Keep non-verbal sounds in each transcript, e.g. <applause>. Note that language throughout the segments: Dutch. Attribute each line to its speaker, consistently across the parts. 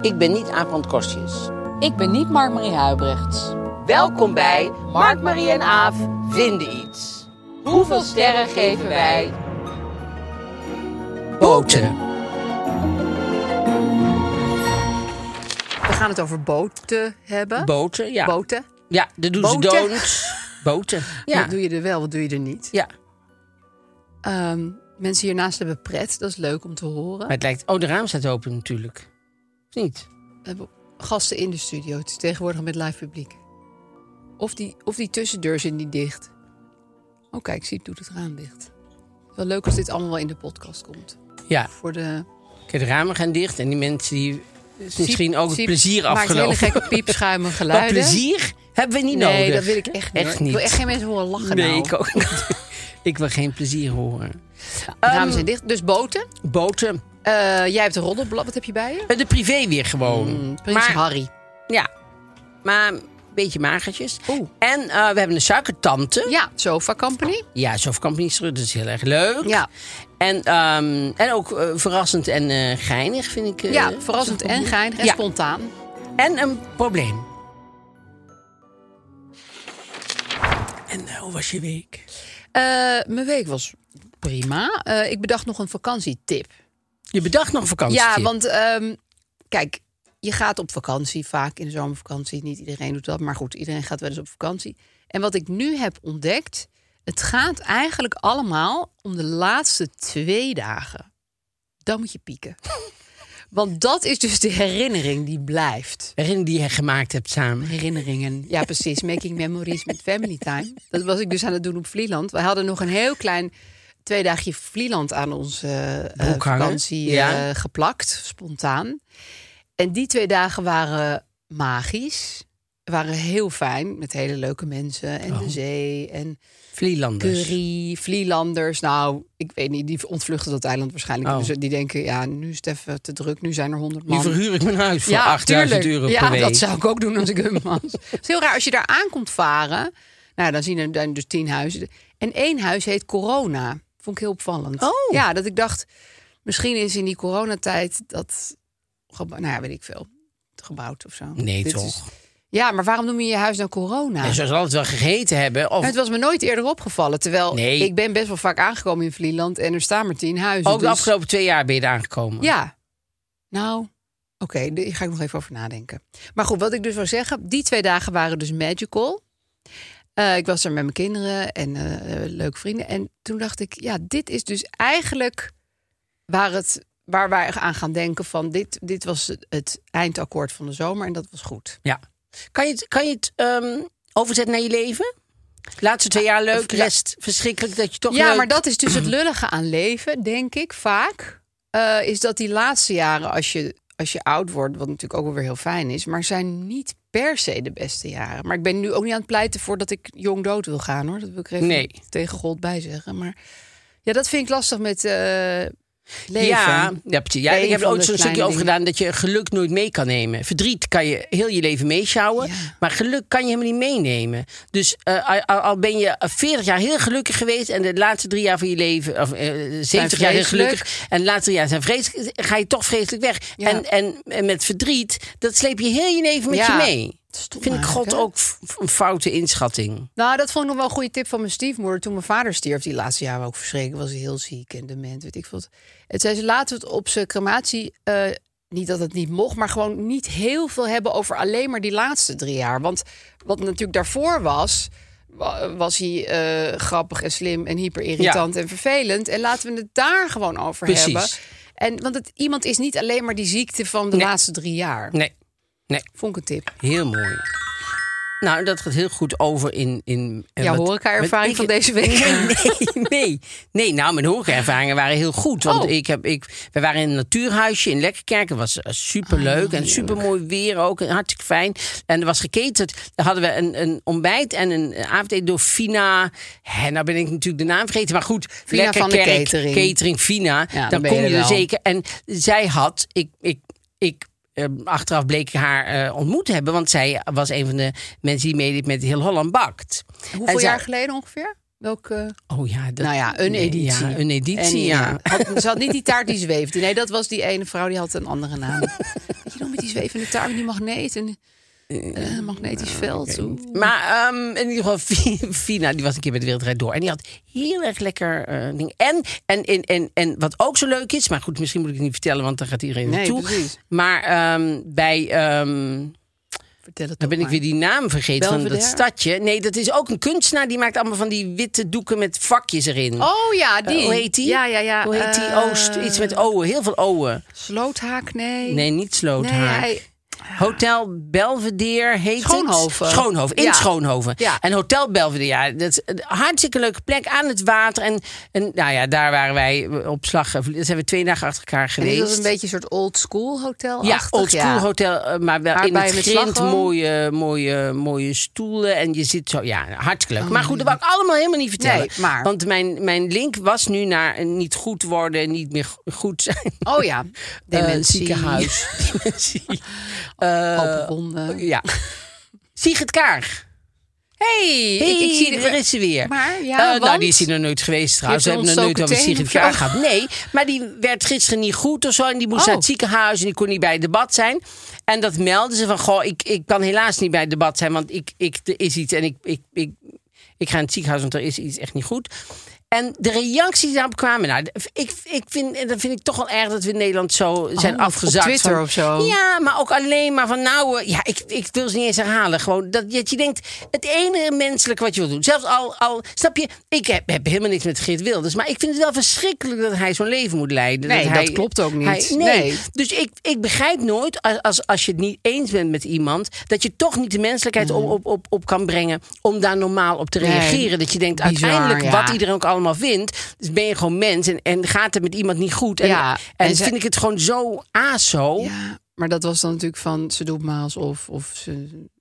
Speaker 1: Ik ben niet Aap van Kostjes.
Speaker 2: Ik ben niet Mark-Marie Huibrechts.
Speaker 1: Welkom bij Mark, Marie en Aaf vinden iets. Hoeveel sterren geven wij? Boten.
Speaker 3: We gaan het over boten hebben.
Speaker 1: Boten, ja.
Speaker 3: Boten.
Speaker 1: Ja, de do's en
Speaker 3: Boten.
Speaker 1: don'ts. Boten. Ja.
Speaker 3: Wat doe je er wel, wat doe je er niet?
Speaker 1: ja.
Speaker 3: Ehm, mensen hiernaast hebben pret, dat is leuk om te horen.
Speaker 1: Maar het lijkt... Oh, de raam staat open natuurlijk. Of niet?
Speaker 3: We hebben gasten in de studio, het is tegenwoordig met live publiek. Of die, of die tussendeur zit niet dicht. Oh kijk, zie, doet het raam dicht. Wel leuk als dit allemaal wel in de podcast komt.
Speaker 1: Ja.
Speaker 3: Voor de
Speaker 1: Kijk, de ramen gaan dicht en die mensen die... is misschien
Speaker 3: Siep-
Speaker 1: ook het
Speaker 3: Siep
Speaker 1: plezier
Speaker 3: maakt
Speaker 1: afgelopen.
Speaker 3: hele
Speaker 1: <laughs>
Speaker 3: gekke piepschuimige
Speaker 1: Maar
Speaker 3: geluiden.
Speaker 1: plezier hebben we niet
Speaker 3: nee,
Speaker 1: nodig.
Speaker 3: dat wil ik echt niet. hoor.
Speaker 1: Echt
Speaker 3: Ik
Speaker 1: niet.
Speaker 3: wil echt geen mensen horen lachen
Speaker 1: nee,
Speaker 3: nou.
Speaker 1: ik ook niet. <laughs> ik wil geen plezier horen.
Speaker 3: De
Speaker 1: Ehm.
Speaker 3: ramen zijn dicht, dus boten.
Speaker 1: Boten.
Speaker 3: Eh, jij hebt een roddelblad, wat heb je bij je?
Speaker 1: Eh, De privé weer gewoon.
Speaker 3: Mm, Prins Harry.
Speaker 1: Ja, maar een beetje magertjes.
Speaker 3: Oeh.
Speaker 1: En eh, we hebben een suikertante.
Speaker 3: Ja, Sofa Company.
Speaker 1: Ja, zo kan niet dat is heel erg leuk.
Speaker 3: Ja.
Speaker 1: En, ehm, en ook eh, verrassend en eh, geinig, vind ik. eh,
Speaker 3: ja, verrassend en geinig en
Speaker 1: Ja.
Speaker 3: spontaan.
Speaker 1: En een probleem. En eh, hoe was je week?
Speaker 3: Eh, mijn week was prima. Eh, ik bedacht nog een vakantietip.
Speaker 1: Je bedacht nog vakantie.
Speaker 3: Ja, want ehm, kijk, je gaat op vakantie vaak in de zomervakantie. Niet iedereen doet dat, maar goed, iedereen gaat wel eens op vakantie. En wat ik nu heb ontdekt, het gaat eigenlijk allemaal om de laatste twee dagen. Dan moet je <laughs> pieken. Want dat is dus de herinnering die blijft.
Speaker 1: Herinner die je gemaakt hebt samen.
Speaker 3: Herinneringen. Ja, precies. Making memories met family time. Dat was ik dus aan het doen op Vlieland. We hadden nog een heel klein twee dagje Vlieland aan onze eh,
Speaker 1: Broek hangen.
Speaker 3: vakantie
Speaker 1: Ja.
Speaker 3: eh, geplakt, spontaan. En die twee dagen waren magisch. Waren heel fijn, met hele leuke mensen en
Speaker 1: Oh.
Speaker 3: de zee en
Speaker 1: Vlielanders.
Speaker 3: curry, Vlielanders. Nou, ik weet niet, die ontvluchten dat eiland waarschijnlijk.
Speaker 1: Oh.
Speaker 3: Dus die denken, ja, nu is het even te druk, nu zijn er honderd man
Speaker 1: Nu verhuur ik mijn huis voor 8000
Speaker 3: tuurlijk.
Speaker 1: euro
Speaker 3: ja,
Speaker 1: per week.
Speaker 3: dat zou ik ook doen als ik hun was. Het is heel raar, als je daar aankomt varen... Nou, dan zien er dan dus tien huizen. En één huis heet Corona. Vond ik heel opvallend.
Speaker 1: Oh.
Speaker 3: Ja, dat ik dacht, misschien is in die coronatijd dat... gebou- Nou ja, weet ik veel. Gebouwd of zo.
Speaker 1: Nee,
Speaker 3: Dit
Speaker 1: toch?
Speaker 3: is- ja, maar waarom noem je je huis dan Corona?
Speaker 1: En ze zal het wel gegeten hebben. Of
Speaker 3: Maar het was me nooit eerder opgevallen. Terwijl
Speaker 1: Nee.
Speaker 3: ik ben best wel vaak aangekomen in Vlieland... en er staan maar tien huizen.
Speaker 1: ook de
Speaker 3: dus-
Speaker 1: afgelopen twee jaar ben je er aangekomen.
Speaker 3: ja. Nou, oké, daar ga ik nog even over nadenken. Maar goed, wat ik dus wil zeggen, die twee dagen waren dus magical. Eh, ik was er met mijn kinderen en eh, eh, leuke vrienden. En toen dacht ik, ja, dit is dus eigenlijk waar, het, waar wij aan gaan denken van... Dit, dit was het, het eindakkoord van de zomer en dat was goed.
Speaker 1: Ja. Kan je het, kan je het ehm, overzetten naar je leven? Laatste twee jaar leuk,
Speaker 3: ja.
Speaker 1: rest verschrikkelijk dat je toch
Speaker 3: ja,
Speaker 1: leuk-
Speaker 3: maar dat is dus het lullige aan leven, denk ik vaak. eh, is dat die laatste jaren, als je, als je oud wordt, wat natuurlijk ook wel weer heel fijn is, maar zijn niet per se de beste jaren. Maar ik ben nu ook niet aan het pleiten voor dat ik jong dood wil gaan hoor. Dat wil ik er even
Speaker 1: Nee.
Speaker 3: tegen God bij zeggen. Maar ja, dat vind ik lastig met eh, leven.
Speaker 1: Ja, ja, precies. ja,
Speaker 3: Eén
Speaker 1: ik heb er
Speaker 3: van
Speaker 1: ooit
Speaker 3: de
Speaker 1: zo'n stukje
Speaker 3: kleine
Speaker 1: over
Speaker 3: dingen.
Speaker 1: gedaan dat je geluk nooit mee kan nemen. Verdriet kan je heel je leven meeschouwen, maar geluk kan je helemaal niet meenemen. Dus eh, al- al, al ben je 40 jaar heel gelukkig geweest en de laatste drie jaar van je leven, of eh, 70 jaar heel
Speaker 3: vreselijk.
Speaker 1: gelukkig en de laatste drie jaar zijn vreselijk, eh, ga je toch vreselijk weg.
Speaker 3: Ja.
Speaker 1: En, en, en met verdriet, dat sleep je heel je leven met
Speaker 3: Ja.
Speaker 1: je mee.
Speaker 3: Stom
Speaker 1: Vind ik
Speaker 3: eigenlijk,
Speaker 1: God
Speaker 3: hè?
Speaker 1: ook f- een foute inschatting.
Speaker 3: Nou, dat vond ik nog wel een goede tip van mijn stiefmoeder. Toen mijn vader stierf, die laatste jaren ook verschrikkelijk, was hij heel ziek en dement, weet ik wat. En zei ze, laten we het op zijn crematie, eh, niet dat het niet mocht, maar gewoon niet heel veel hebben over alleen maar die laatste drie jaar. Want wat natuurlijk daarvoor was, wa- was hij eh, grappig en slim en hyper irritant en vervelend. En laten we het daar gewoon over
Speaker 1: Precies.
Speaker 3: hebben. En, want het, iemand is niet alleen maar die ziekte van de laatste drie jaar.
Speaker 1: Nee, nee,
Speaker 3: Vond ik een tip.
Speaker 1: heel mooi. Nou, dat gaat heel goed over in... in eh,
Speaker 3: Ja,
Speaker 1: wat-
Speaker 3: horeca-ervaring van
Speaker 1: wat-
Speaker 3: deze week.
Speaker 1: <laughs> Nee, nee, nee. Nou, mijn horecaervaringen waren heel goed. Want
Speaker 3: Oh.
Speaker 1: ik heb, ik, we waren in een natuurhuisje in Lekkerkerk. Het was eh, superleuk
Speaker 3: Ah,
Speaker 1: en supermooi weer ook. En hartstikke fijn. En er was geketerd. Daar hadden we een, een ontbijt en een avondeten door Fina. En nou ben ik natuurlijk de naam vergeten. Maar goed,
Speaker 3: Fina van de
Speaker 1: Lekkerkerk,
Speaker 3: catering.
Speaker 1: catering Fina.
Speaker 3: Ja,
Speaker 1: dan
Speaker 3: dan ben
Speaker 1: kom
Speaker 3: je
Speaker 1: je
Speaker 3: er
Speaker 1: er
Speaker 3: wel.
Speaker 1: zeker. En zij had, ik, ik, ik eh, achteraf bleek ik haar eh, ontmoet te hebben. Want zij was een van de mensen die meedeed met Heel Holland Bakt.
Speaker 3: Hoeveel
Speaker 1: En zij-
Speaker 3: jaar geleden ongeveer? Welke...
Speaker 1: Oh ja, dat,
Speaker 3: Nou ja, een
Speaker 1: nee,
Speaker 3: editie.
Speaker 1: Ja, een editie,
Speaker 3: En, eh,
Speaker 1: ja. <laughs>
Speaker 3: had- ze had niet die taart die zweefde. Nee, dat was die ene vrouw die had een andere naam. Weet je nog met die zwevende taart met die magneet en eh, magnetisch
Speaker 1: nou,
Speaker 3: veld. Oeh.
Speaker 1: Maar ehm, in ieder geval, Fi- Fina, die was een keer bij de Wereldrijd Door. En die had heel erg lekker eh, ding. En, en, en, en, en wat ook zo leuk is, maar goed, misschien moet ik het niet vertellen, want dan gaat iedereen
Speaker 3: Nee,
Speaker 1: naartoe.
Speaker 3: precies.
Speaker 1: Maar ehm, bij, ehm,
Speaker 3: Vertel het
Speaker 1: dan ben ik weer die naam vergeten van dat
Speaker 3: Belvedere?
Speaker 1: stadje. Nee, dat is ook een kunstenaar, die maakt allemaal van die witte doeken met vakjes erin.
Speaker 3: Oh ja, die.
Speaker 1: Eh, hoe heet die?
Speaker 3: Ja, ja, ja.
Speaker 1: Hoe heet die?
Speaker 3: eh,
Speaker 1: Oost, iets met ouwe, heel veel ouwe.
Speaker 3: Sloothaak, nee.
Speaker 1: Nee, niet Sloothaar.
Speaker 3: Nee, hij-
Speaker 1: Hotel Belvedere heet
Speaker 3: Schoonhoven.
Speaker 1: het. Schoonhoven. In
Speaker 3: Ja.
Speaker 1: Schoonhoven.
Speaker 3: Ja.
Speaker 1: En Hotel Belvedere, ja, dat is een hartstikke leuke plek aan het water. En, en nou ja, daar waren wij op slag. Dat zijn we twee dagen achter elkaar
Speaker 3: En
Speaker 1: geweest.
Speaker 3: is dat een beetje een soort old school hotel?
Speaker 1: ja, old school hotel, eh, maar wel in
Speaker 3: Waarbij
Speaker 1: het
Speaker 3: met
Speaker 1: grind
Speaker 3: slagroom.
Speaker 1: mooie, mooie, mooie stoelen. En je zit zo, ja, hartstikke leuk. maar goed, dat wou ik allemaal helemaal niet vertellen.
Speaker 3: Oh, Nee, maar-
Speaker 1: Want mijn, mijn link was nu naar eh, niet goed worden, niet meer go- goed zijn.
Speaker 3: Oh ja.
Speaker 1: Eh,
Speaker 3: Dementie. <laughs>
Speaker 1: ziekenhuis. Dementie.
Speaker 3: Open wonden.
Speaker 1: Ja. Sigrid Kaag.
Speaker 3: Hey,
Speaker 1: Hey,
Speaker 3: ik, ik zie
Speaker 1: daar
Speaker 3: de
Speaker 1: is ze weer.
Speaker 3: Maar, ja,
Speaker 1: Eh, Nou,
Speaker 3: want?
Speaker 1: die is hier nog nooit geweest trouwens. Ze
Speaker 3: Heeft
Speaker 1: hebben nog
Speaker 3: ze
Speaker 1: nooit over
Speaker 3: ontstoken
Speaker 1: Sigrid Kaag
Speaker 3: teen?
Speaker 1: gehad. Nee, maar die werd gisteren niet goed of zo. En die moest
Speaker 3: Oh.
Speaker 1: naar het ziekenhuis en die kon niet bij het debat zijn. En dat meldden ze van, goh, ik, ik kan helaas niet bij het debat zijn. Want ik, ik, er is iets en ik, ik, ik, ik ga in het ziekenhuis, want er is iets echt niet goed. En de reacties die daarop kwamen, nou, ik, ik vind, en dat vind ik toch wel erg dat we in Nederland zo zijn
Speaker 3: Oh, op
Speaker 1: afgezakt.
Speaker 3: Twitter
Speaker 1: van,
Speaker 3: of zo.
Speaker 1: Ja, maar ook alleen maar van nou, eh, ja, ik, ik wil ze niet eens herhalen. Gewoon dat, dat je denkt, het enige menselijke wat je wil doen. Zelfs al, al snap je, ik heb, heb helemaal niks met Geert Wilders. Maar ik vind het wel verschrikkelijk dat hij zo'n leven moet leiden.
Speaker 3: Nee, dat
Speaker 1: hij-
Speaker 3: klopt ook niet.
Speaker 1: hij- nee.
Speaker 3: Nee.
Speaker 1: Dus ik, ik begrijp nooit, als- als, als je het niet eens bent met iemand, dat je toch niet de menselijkheid op, op, op, op kan brengen om daar normaal op te
Speaker 3: Mm. Nee.
Speaker 1: reageren. Dat je denkt,
Speaker 3: Bizar,
Speaker 1: uiteindelijk,
Speaker 3: ja.
Speaker 1: wat iedereen ook allemaal vindt, dus ben je gewoon mens en, en gaat het met iemand niet goed. En,
Speaker 3: Ja,
Speaker 1: en,
Speaker 3: en ze-
Speaker 1: vind ik het gewoon zo aso.
Speaker 3: Ja, maar dat was dan natuurlijk van ze doet maar alsof of ze. ze-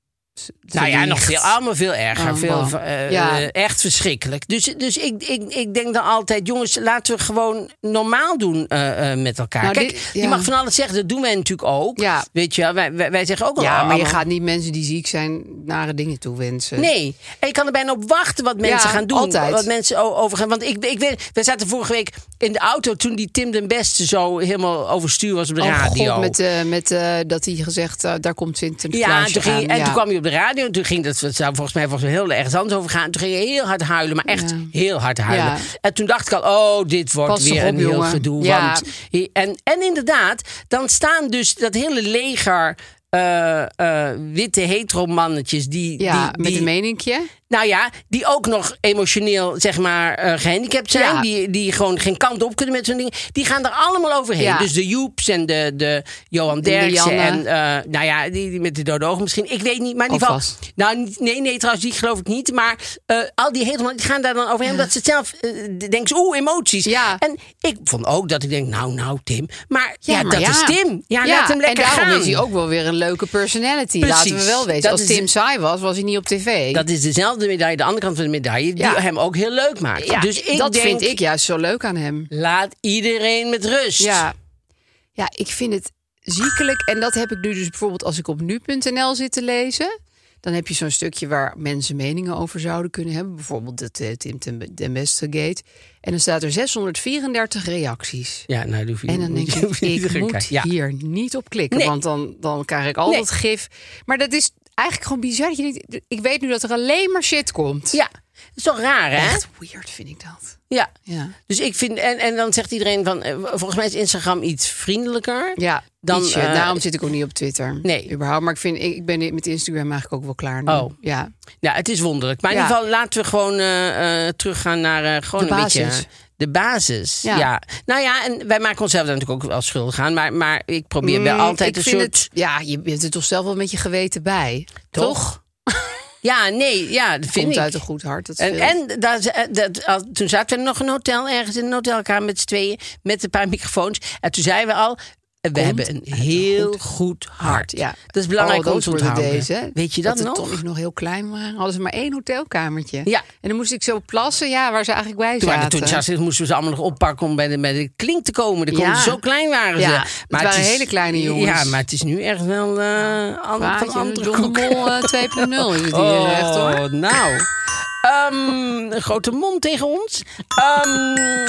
Speaker 3: ze
Speaker 1: Nou ja,
Speaker 3: liegt.
Speaker 1: nog veel, allemaal veel erger.
Speaker 3: Oh,
Speaker 1: veel,
Speaker 3: man.
Speaker 1: eh,
Speaker 3: Ja.
Speaker 1: eh, echt verschrikkelijk. Dus, dus ik, ik, ik denk dan altijd, jongens, laten we gewoon normaal doen eh, eh, met elkaar.
Speaker 3: Nou,
Speaker 1: Kijk,
Speaker 3: dit-
Speaker 1: je
Speaker 3: ja.
Speaker 1: mag van alles zeggen, dat doen wij natuurlijk ook.
Speaker 3: Ja.
Speaker 1: Weet je wel, wij, wij, wij zeggen ook al
Speaker 3: Ja, maar je
Speaker 1: allemaal-
Speaker 3: gaat niet mensen die ziek zijn nare dingen toewensen.
Speaker 1: Nee, en je kan er bijna op wachten wat mensen
Speaker 3: Ja,
Speaker 1: gaan doen.
Speaker 3: altijd.
Speaker 1: Wat mensen o- over gaan. Want ik, ik weet, we zaten vorige week in de auto toen die Tim den Beste zo helemaal overstuur was op de
Speaker 3: Oh,
Speaker 1: radio.
Speaker 3: God, met, eh, met eh, dat hij gezegd, eh, daar komt Sinterklaasje
Speaker 1: Ja, en, toen ging,
Speaker 3: aan.
Speaker 1: en
Speaker 3: Ja.
Speaker 1: toen kwam hij op de radio. En toen ging dat, het zou volgens mij volgens mij heel ergens anders over gaan. Toen ging hij heel hard huilen, maar echt
Speaker 3: Ja.
Speaker 1: heel hard huilen.
Speaker 3: Ja.
Speaker 1: En toen dacht ik al, oh, dit wordt
Speaker 3: Pas toch
Speaker 1: weer
Speaker 3: op,
Speaker 1: een heel
Speaker 3: jongen.
Speaker 1: gedoe.
Speaker 3: Ja.
Speaker 1: Want, hier- en, en inderdaad, dan staan dus dat hele leger eh, eh, witte hetero-mannetjes die,
Speaker 3: ja,
Speaker 1: die,
Speaker 3: met
Speaker 1: die-
Speaker 3: een meninkje.
Speaker 1: nou ja, die ook nog emotioneel, zeg maar, eh, gehandicapt zijn.
Speaker 3: Ja.
Speaker 1: Die, die gewoon geen kant op kunnen met zo'n ding. Die gaan er allemaal overheen.
Speaker 3: Ja.
Speaker 1: Dus de Joeps en de, de Johan
Speaker 3: De
Speaker 1: Derksen. En
Speaker 3: Lianne.
Speaker 1: eh, nou ja, die, die met de dode ogen misschien. Ik weet niet, maar in ieder geval...
Speaker 3: Alvast.
Speaker 1: Nou, niet- nee, nee, trouwens, die geloof ik niet. Maar eh, al die helemaal, die gaan daar dan overheen. Omdat ze het zelf eh, denken, ze, oeh, emoties.
Speaker 3: Ja.
Speaker 1: En ik vond ook dat ik denk, nou, nou, Tim. Maar ja,
Speaker 3: Ja, maar
Speaker 1: dat
Speaker 3: ja.
Speaker 1: is Tim. Ja, laat hem lekker
Speaker 3: en daarom
Speaker 1: gaan.
Speaker 3: is hij ook wel weer een leuke personality. Laten
Speaker 1: Precies.
Speaker 3: we wel
Speaker 1: Dat
Speaker 3: weten. Als
Speaker 1: is-
Speaker 3: Tim saai was, was hij niet op tv.
Speaker 1: Dat is dezelfde medaille, de andere kant van de medaille,
Speaker 3: Ja.
Speaker 1: die hem ook heel leuk maakt.
Speaker 3: ja,
Speaker 1: dus ik
Speaker 3: dat
Speaker 1: denk,
Speaker 3: vind ik juist zo leuk aan hem.
Speaker 1: Laat iedereen met rust.
Speaker 3: Ja. ja, ik vind het ziekelijk. En dat heb ik nu dus bijvoorbeeld als ik op nu.nl zit te lezen. Dan heb je zo'n stukje waar mensen meningen over zouden kunnen hebben. Bijvoorbeeld het eh, Tim ten- ten Beste Gate. En dan staat er 634 reacties.
Speaker 1: Ja, nou, dat hoef je
Speaker 3: En
Speaker 1: <laughs>
Speaker 3: dan denk
Speaker 1: dat
Speaker 3: ik,
Speaker 1: hoef je niet te
Speaker 3: ik
Speaker 1: gaan
Speaker 3: moet
Speaker 1: kijken. Ja.
Speaker 3: hier niet op klikken.
Speaker 1: Nee.
Speaker 3: Want dan, dan krijg ik al
Speaker 1: Nee.
Speaker 3: dat gif. Maar dat is eigenlijk gewoon bizar. dat je denkt, Ik weet nu dat er alleen maar shit komt.
Speaker 1: ja, dat is toch raar, hè?
Speaker 3: Echt weird vind ik dat.
Speaker 1: Ja.
Speaker 3: Ja,
Speaker 1: Dus ik vind, en, en dan zegt iedereen van, eh, volgens mij is Instagram iets vriendelijker.
Speaker 3: ja
Speaker 1: Dan,
Speaker 3: ietsje.
Speaker 1: eh,
Speaker 3: daarom zit ik ook niet op Twitter.
Speaker 1: Nee.
Speaker 3: Überhaupt, maar ik, vind, ik, ik ben met Instagram eigenlijk ook wel klaar nu.
Speaker 1: Oh.
Speaker 3: Ja.
Speaker 1: Nou, het is wonderlijk. Maar in
Speaker 3: Ja.
Speaker 1: ieder geval laten we gewoon eh, eh, teruggaan naar eh, gewoon
Speaker 3: De
Speaker 1: een beetje
Speaker 3: basis.
Speaker 1: de basis. Ja.
Speaker 3: Ja.
Speaker 1: Nou ja, en wij maken onszelf daar natuurlijk ook wel schuldig aan. Maar, maar ik probeer wel
Speaker 3: Mm,
Speaker 1: altijd
Speaker 3: ik
Speaker 1: een
Speaker 3: vind
Speaker 1: soort...
Speaker 3: het- ja, je bent er toch zelf wel met je geweten bij.
Speaker 1: Toch? <laughs> Ja, nee, ja, dat vind
Speaker 3: Komt
Speaker 1: ik.
Speaker 3: uit een goed hart. Dat
Speaker 1: En,
Speaker 3: scheelt.
Speaker 1: en daar ze- eh, dat, al- toen zaten we nog in een hotel, ergens in een hotelkamer met z'n tweeën, met een paar microfoons. En toen zeiden we al, eh, we hebben een
Speaker 3: uit een
Speaker 1: heel goed,
Speaker 3: goed
Speaker 1: hart.
Speaker 3: ja.
Speaker 1: Dat is belangrijk
Speaker 3: Oh,
Speaker 1: om te
Speaker 3: those were the
Speaker 1: onthouden.
Speaker 3: days, hè?
Speaker 1: Weet je dat,
Speaker 3: de
Speaker 1: nog?
Speaker 3: Toen nog heel klein waren, hadden ze maar één hotelkamertje.
Speaker 1: Ja.
Speaker 3: En dan moest ik zo plassen, ja, waar ze eigenlijk bij
Speaker 1: Toen, waren,
Speaker 3: zaten.
Speaker 1: toen zaten- moesten we ze allemaal nog oppakken om bij de, bij de klink te komen. Dan konden
Speaker 3: Ja.
Speaker 1: ze- zo klein waren ze.
Speaker 3: Ja, het waren
Speaker 1: is-
Speaker 3: hele kleine jongens.
Speaker 1: Ja, maar het is nu echt wel eh an-
Speaker 3: Plaatje,
Speaker 1: van andere
Speaker 3: John de
Speaker 1: koek. <laughs>
Speaker 3: Mol eh, 2.0 is het hier echt hoor.
Speaker 1: Oh, nou. Ehm, een grote mond tegen ons. Ehm,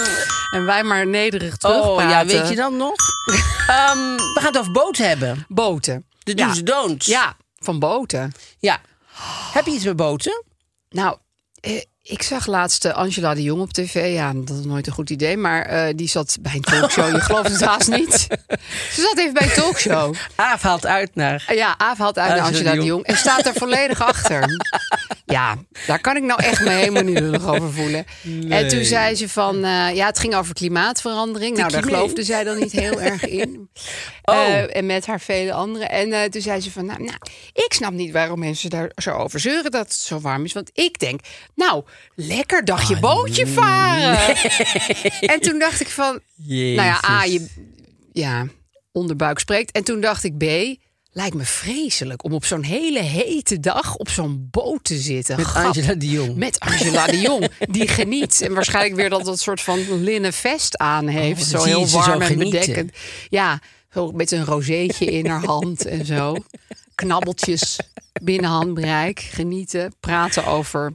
Speaker 3: En wij maar nederig
Speaker 1: oh,
Speaker 3: terugpraten.
Speaker 1: ja, weet je dat nog? <laughs> Ehm, we gaan het over boot hebben.
Speaker 3: Boten.
Speaker 1: De
Speaker 3: Ja.
Speaker 1: do's en don'ts.
Speaker 3: Ja, van boten.
Speaker 1: ja. Heb je iets met boten?
Speaker 3: Nou, eh, ik zag laatst eh, Angela de Jong op tv. Ja, dat is nooit een goed idee. Maar eh, die zat bij een talkshow. Je gelooft het haast niet. Ze zat even bij een talkshow.
Speaker 1: Aaf haalt uit naar...
Speaker 3: Eh, Ja, Aaf haalt uit naar
Speaker 1: Angela de
Speaker 3: Angela de
Speaker 1: Jong.
Speaker 3: Jong. En staat er <laughs> volledig achter. Ja, daar kan ik nou echt me helemaal niet lullig over voelen. En toen zei ze van... eh, ja, het ging over klimaatverandering. Nou, daar
Speaker 1: klimaat.
Speaker 3: geloofde zij dan niet heel erg <laughs> in.
Speaker 1: Oh.
Speaker 3: Eh, en met haar vele anderen. En eh, toen zei ze van... Nou, nou, ik snap niet waarom mensen daar zo over zeuren dat het zo warm is. Want ik denk... Nou, lekker dagje bootje <laughs> varen. En toen dacht ik van... Nou ja, A, je ja, onderbuik spreekt. En toen dacht ik, B, lijkt me vreselijk om op zo'n hele hete dag op zo'n boot te zitten.
Speaker 1: Met
Speaker 3: Gap.
Speaker 1: Angela de Jong.
Speaker 3: Met Angela de Jong, die geniet. En waarschijnlijk weer dat, dat soort van linnen vest aan heeft.
Speaker 1: Oh, dan
Speaker 3: zo
Speaker 1: zie je
Speaker 3: heel
Speaker 1: ze
Speaker 3: warm
Speaker 1: zo
Speaker 3: en
Speaker 1: genieten.
Speaker 3: bedekkend. Ja, zo met een rozeetje in haar hand en zo. Knabbeltjes binnen handbereik. Genieten, praten over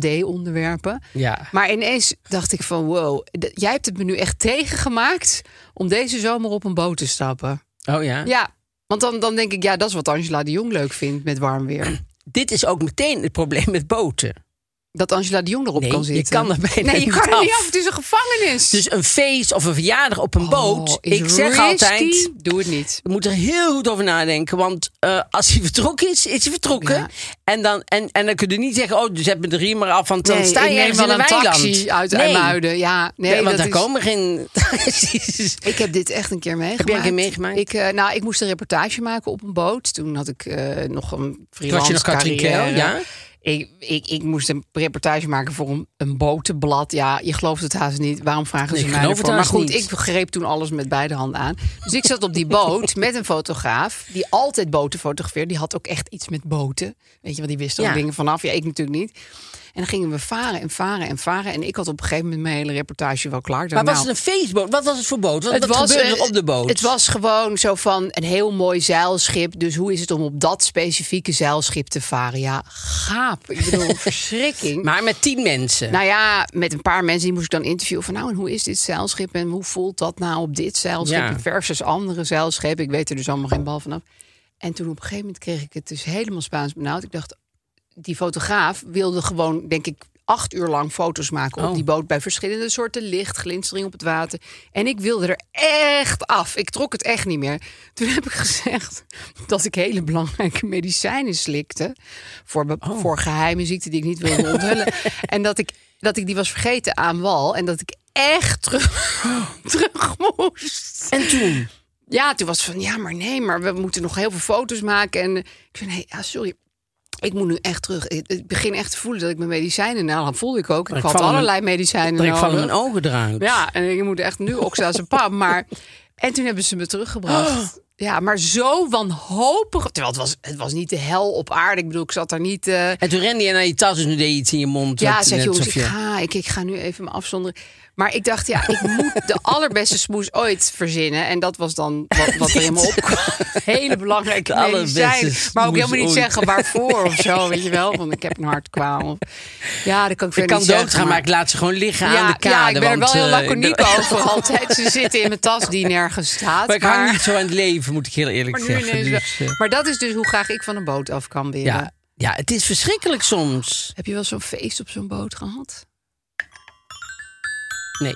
Speaker 3: AD-onderwerpen.
Speaker 1: Ja.
Speaker 3: Maar ineens dacht ik van wow, d- jij hebt het me nu echt tegengemaakt om deze zomer op een boot te stappen.
Speaker 1: Oh ja.
Speaker 3: Ja, want dan, dan denk ik, ja, dat is wat Angela de Jong leuk vindt met warm weer.
Speaker 1: Dit is ook meteen het probleem met boten.
Speaker 3: Dat Angela de Jong erop
Speaker 1: Nee,
Speaker 3: kan
Speaker 1: je
Speaker 3: zitten.
Speaker 1: kan er bijna
Speaker 3: Nee, je
Speaker 1: niet
Speaker 3: kan er niet
Speaker 1: af.
Speaker 3: af. Het is een gevangenis.
Speaker 1: Dus een feest of een verjaardag op een boot.
Speaker 3: is
Speaker 1: Ik zeg
Speaker 3: risky.
Speaker 1: altijd...
Speaker 3: Doe het niet.
Speaker 1: We moeten er heel goed over nadenken. Want eh, als hij vertrokken is, is hij vertrokken.
Speaker 3: Ja.
Speaker 1: En, dan, en, en dan kun je niet zeggen, oh, zet me de riem maar af. Want dan
Speaker 3: Nee,
Speaker 1: sta
Speaker 3: ik
Speaker 1: je
Speaker 3: neem
Speaker 1: ergens
Speaker 3: wel
Speaker 1: in een,
Speaker 3: een
Speaker 1: weiland.
Speaker 3: taxi uit
Speaker 1: nee.
Speaker 3: IJmuiden. Ja, nee,
Speaker 1: Ja, want
Speaker 3: dat
Speaker 1: daar
Speaker 3: is-
Speaker 1: komen
Speaker 3: <laughs>
Speaker 1: geen taxis.
Speaker 3: Ik heb dit echt een keer meegemaakt.
Speaker 1: jij een keer meegemaakt?
Speaker 3: Ik, eh, nou, ik moest een reportage maken op een boot. Toen had ik eh, nog een freelance
Speaker 1: Had je nog Katrien
Speaker 3: carrière.
Speaker 1: Keil, ja?
Speaker 3: Ik, ik, ik moest een reportage maken voor een, een botenblad. Ja, je gelooft het haast niet. Waarom vragen
Speaker 1: Nee,
Speaker 3: ze
Speaker 1: ik
Speaker 3: mij
Speaker 1: geloof
Speaker 3: ervoor?
Speaker 1: het
Speaker 3: Maar
Speaker 1: haast
Speaker 3: goed,
Speaker 1: niet.
Speaker 3: ik greep toen alles met beide handen aan. Dus ik zat op die boot met een fotograaf... die altijd boten fotografeert. Die had ook echt iets met boten. Weet je, want die wist er
Speaker 1: Ja.
Speaker 3: ook dingen vanaf. Ja, ik natuurlijk niet. En dan gingen we varen en varen en varen. En ik had op een gegeven moment mijn hele reportage wel klaar. Ik dacht,
Speaker 1: Maar was
Speaker 3: nou,
Speaker 1: het een feestboot? Wat was het voor boot? Wat,
Speaker 3: het
Speaker 1: wat
Speaker 3: was
Speaker 1: gebeurde er
Speaker 3: eh,
Speaker 1: op de boot?
Speaker 3: Het was gewoon zo van een heel mooi zeilschip. Dus hoe is het om op dat specifieke zeilschip te varen? Ja, gaap. Ik
Speaker 1: <laughs>
Speaker 3: bedoel, verschrikking.
Speaker 1: maar met tien mensen.
Speaker 3: nou ja, met een paar mensen die moest ik dan interviewen. Van nou, en hoe is dit zeilschip? En hoe voelt dat nou op dit zeilschip
Speaker 1: Ja.
Speaker 3: versus andere zeilschepen? Ik weet er dus allemaal geen bal vanaf. En toen op een gegeven moment kreeg ik het dus helemaal Spaans benauwd. Ik dacht, die fotograaf wilde gewoon, denk ik, acht uur lang foto's maken op
Speaker 1: Oh.
Speaker 3: die boot bij verschillende soorten licht, glinstering op het water. En ik wilde er echt af. Ik trok het echt niet meer. Toen heb ik <laughs> gezegd dat ik hele belangrijke medicijnen slikte voor, be-
Speaker 1: Oh.
Speaker 3: voor geheime ziekten die ik niet
Speaker 1: <laughs>
Speaker 3: wilde onthullen. en dat ik, dat ik die was vergeten aan wal en dat ik echt terug,
Speaker 1: Oh.
Speaker 3: <laughs> terug moest.
Speaker 1: En toen?
Speaker 3: Ja, Nou, toen was het van ja, maar nee, maar we moeten nog heel veel foto's maken. En ik zei nee, ja, sorry. Ik moet nu echt terug. Ik ik begin echt te voelen dat ik mijn medicijnen na. Dat voelde ik ook. Ik
Speaker 1: ik
Speaker 3: had
Speaker 1: val in
Speaker 3: allerlei medicijnen
Speaker 1: Dat ik van mijn
Speaker 3: nodig.
Speaker 1: ogen eruit.
Speaker 3: Nou, Ja, en ik moet echt nu oxazepam.
Speaker 1: <laughs>
Speaker 3: Maar en toen hebben ze me teruggebracht.
Speaker 1: Oh.
Speaker 3: Ja, maar zo wanhopig. Terwijl het was, het was niet de hel op aarde. Ik bedoel, ik zat daar niet. eh,
Speaker 1: En toen rende je naar je tas, dus nu deed je iets in je mond.
Speaker 3: ja,
Speaker 1: wat-
Speaker 3: zeg
Speaker 1: net
Speaker 3: jongens,
Speaker 1: alsof
Speaker 3: ik ga, ik, ik ga nu even me afzonderen. Maar ik dacht, ja, ik moet <laughs> de allerbeste smoes ooit verzinnen. En dat was dan wat, wat er in me opkwam. <laughs> Hele <laughs> belangrijke
Speaker 1: De allerbeste
Speaker 3: medicijn. Maar
Speaker 1: smoes
Speaker 3: ook helemaal niet
Speaker 1: ooit.
Speaker 3: zeggen waarvoor of zo, weet je wel. Want ik heb een hartkwaal. Of- Ja, dat kan
Speaker 1: Ik
Speaker 3: ik verder
Speaker 1: kan
Speaker 3: niet
Speaker 1: doodgaan,
Speaker 3: zeggen,
Speaker 1: maar ik laat ze gewoon liggen
Speaker 3: ja,
Speaker 1: aan de kade.
Speaker 3: Ja, ik ben er
Speaker 1: want,
Speaker 3: wel heel
Speaker 1: eh, ik
Speaker 3: laconiek
Speaker 1: ben-
Speaker 3: over altijd. Ze zitten in mijn tas die nergens
Speaker 1: <laughs>
Speaker 3: staat.
Speaker 1: Maar ik hang niet zo aan het leven, moet ik heel eerlijk
Speaker 3: maar nu
Speaker 1: zeggen.
Speaker 3: ineens wel.
Speaker 1: dus, eh,
Speaker 3: Maar dat is dus hoe graag ik van een boot af kan willen.
Speaker 1: ja. ja, het is verschrikkelijk soms.
Speaker 3: Heb je wel zo'n feest op zo'n boot gehad?
Speaker 1: Nee.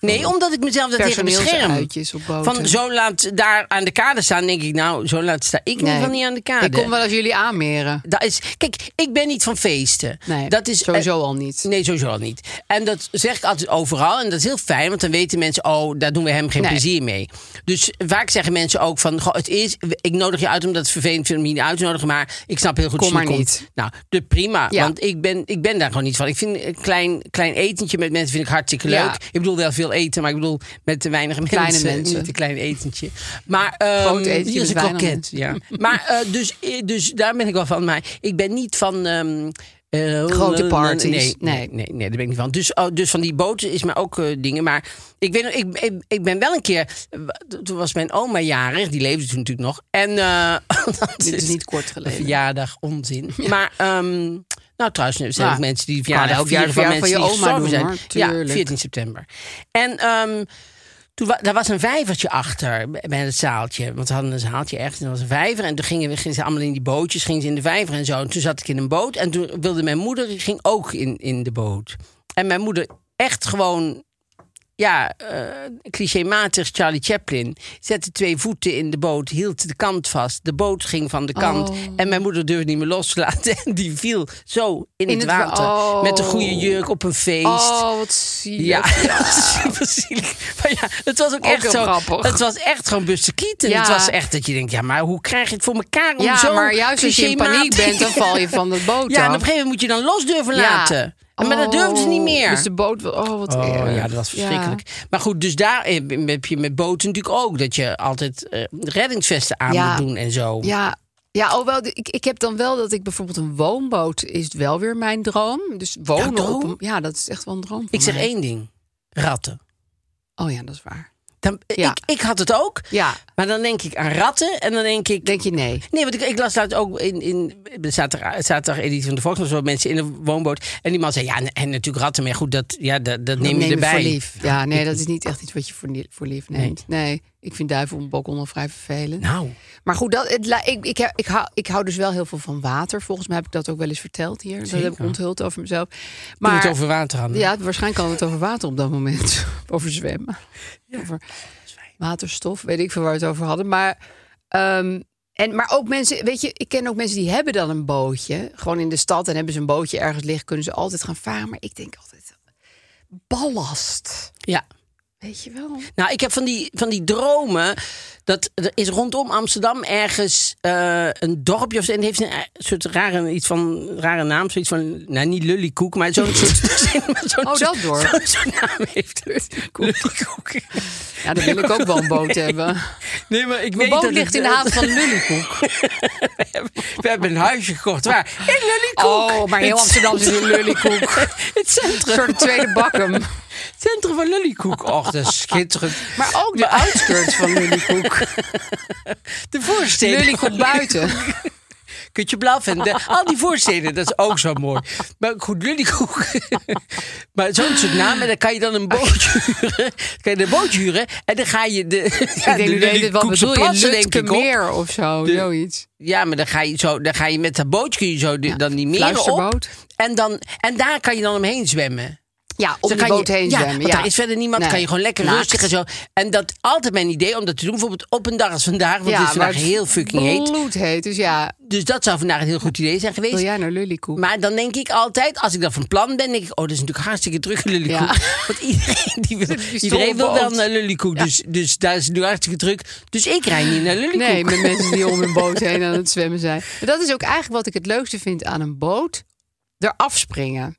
Speaker 1: Nee, omdat ik mezelf dat tegen bescherm.
Speaker 3: personeelsuitjes op boten.
Speaker 1: Van zo laat daar aan de kade staan, denk ik, nou, zo laat sta ik
Speaker 3: Nee.
Speaker 1: niet van niet aan de kade.
Speaker 3: Ik kom wel als jullie aanmeren.
Speaker 1: dat is, kijk, ik ben niet van feesten.
Speaker 3: Nee,
Speaker 1: dat is eh,
Speaker 3: sowieso al niet.
Speaker 1: Nee, sowieso al niet. En dat zeg ik altijd overal. En dat is heel fijn, want dan weten mensen... oh, daar doen we hem geen
Speaker 3: Nee.
Speaker 1: plezier mee. Dus vaak zeggen mensen ook van... Goh, het is, ik nodig je uit omdat het vervelend vind om je niet uit te nodigen... maar ik snap heel goed
Speaker 3: Kom
Speaker 1: dat je
Speaker 3: maar
Speaker 1: komt.
Speaker 3: niet.
Speaker 1: Nou, de prima.
Speaker 3: Ja.
Speaker 1: Want ik ben, ik ben daar gewoon niet van. Ik vind een klein, klein etentje met mensen vind ik hartstikke leuk.
Speaker 3: Ja.
Speaker 1: Ik bedoel wel veel eten, maar ik bedoel met te weinig mensen.
Speaker 3: Kleine mensen.
Speaker 1: Niet een klein etentje. Maar ehm,
Speaker 3: Groot etentje
Speaker 1: hier is een
Speaker 3: met weinig
Speaker 1: kroket. Ja. maar eh, dus, eh, dus daar ben ik wel van. Maar ik ben niet van... ehm, eh,
Speaker 3: Grote
Speaker 1: eh,
Speaker 3: parties.
Speaker 1: Nee, nee,
Speaker 3: Nee.
Speaker 1: nee, nee, daar ben ik niet van. Dus, oh, dus van die boten is maar ook eh, dingen. Maar ik, weet, nog, ik, ik, ik ben wel een keer. eh, wa- Toen was mijn oma jarig, die leefde toen natuurlijk nog. En. eh, <laughs> dat
Speaker 3: Dit is niet kort geleden.
Speaker 1: Verjaardag, onzin. <laughs> Maar. ehm, nou, trouwens, er zijn
Speaker 3: Ja.
Speaker 1: ook mensen die
Speaker 3: Kan
Speaker 1: verjaardag
Speaker 3: elk jaar
Speaker 1: vieren van
Speaker 3: verjaardag
Speaker 1: mensen
Speaker 3: van
Speaker 1: die
Speaker 3: je oma
Speaker 1: gestorven
Speaker 3: doen,
Speaker 1: zijn.
Speaker 3: hoor.
Speaker 1: Ja,
Speaker 3: Tuurlijk.
Speaker 1: 14 september. En ehm, Toen wa- daar was een vijvertje achter bij- bij het zaaltje. Want ze hadden een zaaltje ergens en er was een vijver. En toen gingen, we- gingen ze allemaal in die bootjes, gingen ze in de vijver en zo. En toen zat ik in een boot en toen wilde mijn moeder, die ging ook in, in de boot. En mijn moeder echt gewoon, ja, eh clichématig Charlie Chaplin. Zette twee voeten in de boot, hield de kant vast. De boot ging van de kant.
Speaker 3: Oh.
Speaker 1: En mijn moeder durfde niet meer los te laten. <laughs> En die viel zo in,
Speaker 3: In
Speaker 1: het,
Speaker 3: het wa-
Speaker 1: water. Met een goede
Speaker 3: Oh.
Speaker 1: jurk op een feest.
Speaker 3: Oh, wat zielig.
Speaker 1: Ja, <laughs> super zielig. Maar ja, het was ook,
Speaker 3: Ook
Speaker 1: echt
Speaker 3: heel
Speaker 1: zo.
Speaker 3: grappig.
Speaker 1: Het was echt gewoon Buster Keaton.
Speaker 3: Ja.
Speaker 1: Het was echt dat je denkt, ja, maar hoe krijg je het voor elkaar om
Speaker 3: Ja,
Speaker 1: zo
Speaker 3: maar juist als je in paniek
Speaker 1: clichématig-
Speaker 3: bent, <laughs> dan val je van dat boot
Speaker 1: Ja, en op
Speaker 3: af.
Speaker 1: een gegeven moment moet je dan los durven
Speaker 3: Ja.
Speaker 1: laten. En Maar dat durfden ze niet
Speaker 3: Oh,
Speaker 1: meer.
Speaker 3: Dus de boot... wa- Oh, wat
Speaker 1: Oh
Speaker 3: erg.
Speaker 1: ja, dat was verschrikkelijk. Maar goed, dus daar eh, heb je met boten natuurlijk ook. Dat je altijd eh, reddingsvesten aan
Speaker 3: Ja.
Speaker 1: moet doen en zo.
Speaker 3: Ja, ja alhoewel, de- ik, ik heb dan wel dat ik bijvoorbeeld een woonboot is wel weer mijn droom. Dus wonen
Speaker 1: Jouw droom?
Speaker 3: op een... Ja, dat is echt wel een droom van
Speaker 1: Ik zeg
Speaker 3: mij.
Speaker 1: één ding. Ratten.
Speaker 3: Oh ja, dat is waar.
Speaker 1: Dan, eh,
Speaker 3: Ja.
Speaker 1: ik, ik had het ook.
Speaker 3: Ja,
Speaker 1: Maar dan denk ik aan ratten. En dan denk ik,
Speaker 3: denk je nee.
Speaker 1: Nee, want ik, ik las laatst ook in, in de zaterdag, zaterdag editie van de Volkskrant... zo mensen in een woonboot. En die man zei, ja, en, en natuurlijk ratten. Maar goed, dat, ja, dat, dat neem je erbij.
Speaker 3: voor lief. Ja, nee, dat is niet echt iets wat je voor, nie- voor lief neemt. Nee. ik vind duiven op een balkon al vrij vervelend.
Speaker 1: Nou,
Speaker 3: Maar goed, dat, het, la- ik, ik, heb- ik, hou, ik hou dus wel heel veel van water. Volgens mij heb ik dat ook wel eens verteld hier. Dat heb ik
Speaker 1: Zeker.
Speaker 3: onthuld over mezelf.
Speaker 1: maar,
Speaker 3: Maar
Speaker 1: het over water hadden.
Speaker 3: ja, waarschijnlijk kan het over water op dat moment. <laughs> over zwemmen. Over waterstof, weet ik veel waar we het over hadden. Maar, ehm, en, maar ook mensen, weet je, ik ken ook mensen die hebben dan een bootje. Gewoon in de stad en hebben ze een bootje ergens liggen. Kunnen ze altijd gaan varen. Maar ik denk altijd, ballast.
Speaker 1: Ja.
Speaker 3: Weet je wel?
Speaker 1: Nou, ik heb van die, van die dromen. Dat er is rondom Amsterdam ergens eh, een dorpje of zo. En die heeft een eh, soort rare, iets van, rare naam. Zoiets van, nou niet Lullykoek, maar zo'n <laughs> soort. zo'n
Speaker 3: Oh, dat dorp.
Speaker 1: Zo'n zo'n naam heeft het. Lullykoek.
Speaker 3: Ja, dan wil ik ook wel een
Speaker 1: <laughs>
Speaker 3: boot hebben.
Speaker 1: Nee, maar ik
Speaker 3: Mijn
Speaker 1: weet
Speaker 3: boot
Speaker 1: dat het-
Speaker 3: ligt in de
Speaker 1: <laughs>
Speaker 3: haven van Lullykoek.
Speaker 1: We hebben- We hebben een huisje gekocht. Waar? <laughs> In Lullykoek.
Speaker 3: Oh, maar heel
Speaker 1: Het
Speaker 3: Amsterdam zit in <laughs> Lullykoek.
Speaker 1: Het
Speaker 3: Een
Speaker 1: centrum,
Speaker 3: soort tweede bakkum.
Speaker 1: het centrum van Lullykoek. Och, dat is schitterend.
Speaker 3: Maar ook de outskirts van
Speaker 1: <laughs>
Speaker 3: Lullykoek.
Speaker 1: De voorsteden.
Speaker 3: Lullykoek buiten.
Speaker 1: Kutje blaf en de- al die voorsteden. Dat is ook zo mooi. Maar goed, Lullykoek. Maar zo'n soort naam. En dan kan je dan een bootje huren. Dan kan je een bootje huren. En dan ga je de ja,
Speaker 3: ik denk,
Speaker 1: de
Speaker 3: nu deed het wat
Speaker 1: Lullykoekse
Speaker 3: bedoel je?
Speaker 1: plassen, denk
Speaker 3: Lutke
Speaker 1: ik, op.
Speaker 3: meer of zo,
Speaker 1: De-
Speaker 3: zoiets.
Speaker 1: Ja, maar dan ga je, zo, dan ga je met dat bootje kun je zo de- dan die meren op.
Speaker 3: Fluisterboot.
Speaker 1: En, dan, en daar kan je dan omheen zwemmen.
Speaker 3: Ja, om
Speaker 1: Dan
Speaker 3: de
Speaker 1: kan
Speaker 3: boot
Speaker 1: je-
Speaker 3: heen
Speaker 1: ja,
Speaker 3: zwemmen.
Speaker 1: Want
Speaker 3: ja.
Speaker 1: daar is verder niemand.
Speaker 3: Nee.
Speaker 1: Kan je gewoon lekker
Speaker 3: Naakt.
Speaker 1: rustig en zo. En dat altijd mijn idee om dat te doen. Bijvoorbeeld op een dag als vandaag. Want het is
Speaker 3: waar
Speaker 1: vandaag heel fucking heet.
Speaker 3: Bloed heet, dus ja.
Speaker 1: Dus dat zou vandaag een heel goed idee zijn
Speaker 3: Wil
Speaker 1: geweest.
Speaker 3: jij naar Lullykoek?
Speaker 1: Maar dan denk ik altijd, als ik dan van plan ben, denk ik... oh, dat is natuurlijk hartstikke druk in Lullykoek.
Speaker 3: Ja.
Speaker 1: <laughs> Want iedereen, die wil,
Speaker 3: Die
Speaker 1: iedereen wil wel
Speaker 3: stoelboot.
Speaker 1: naar Lullykoek. Dus, dus daar is het nu hartstikke druk. Dus ik rijd niet naar Lullykoek.
Speaker 3: Nee, met mensen die om hun
Speaker 1: <laughs>
Speaker 3: boot heen aan het zwemmen zijn. Maar dat is ook eigenlijk wat ik het leukste vind aan een boot. Eraf
Speaker 1: <laughs>
Speaker 3: springen.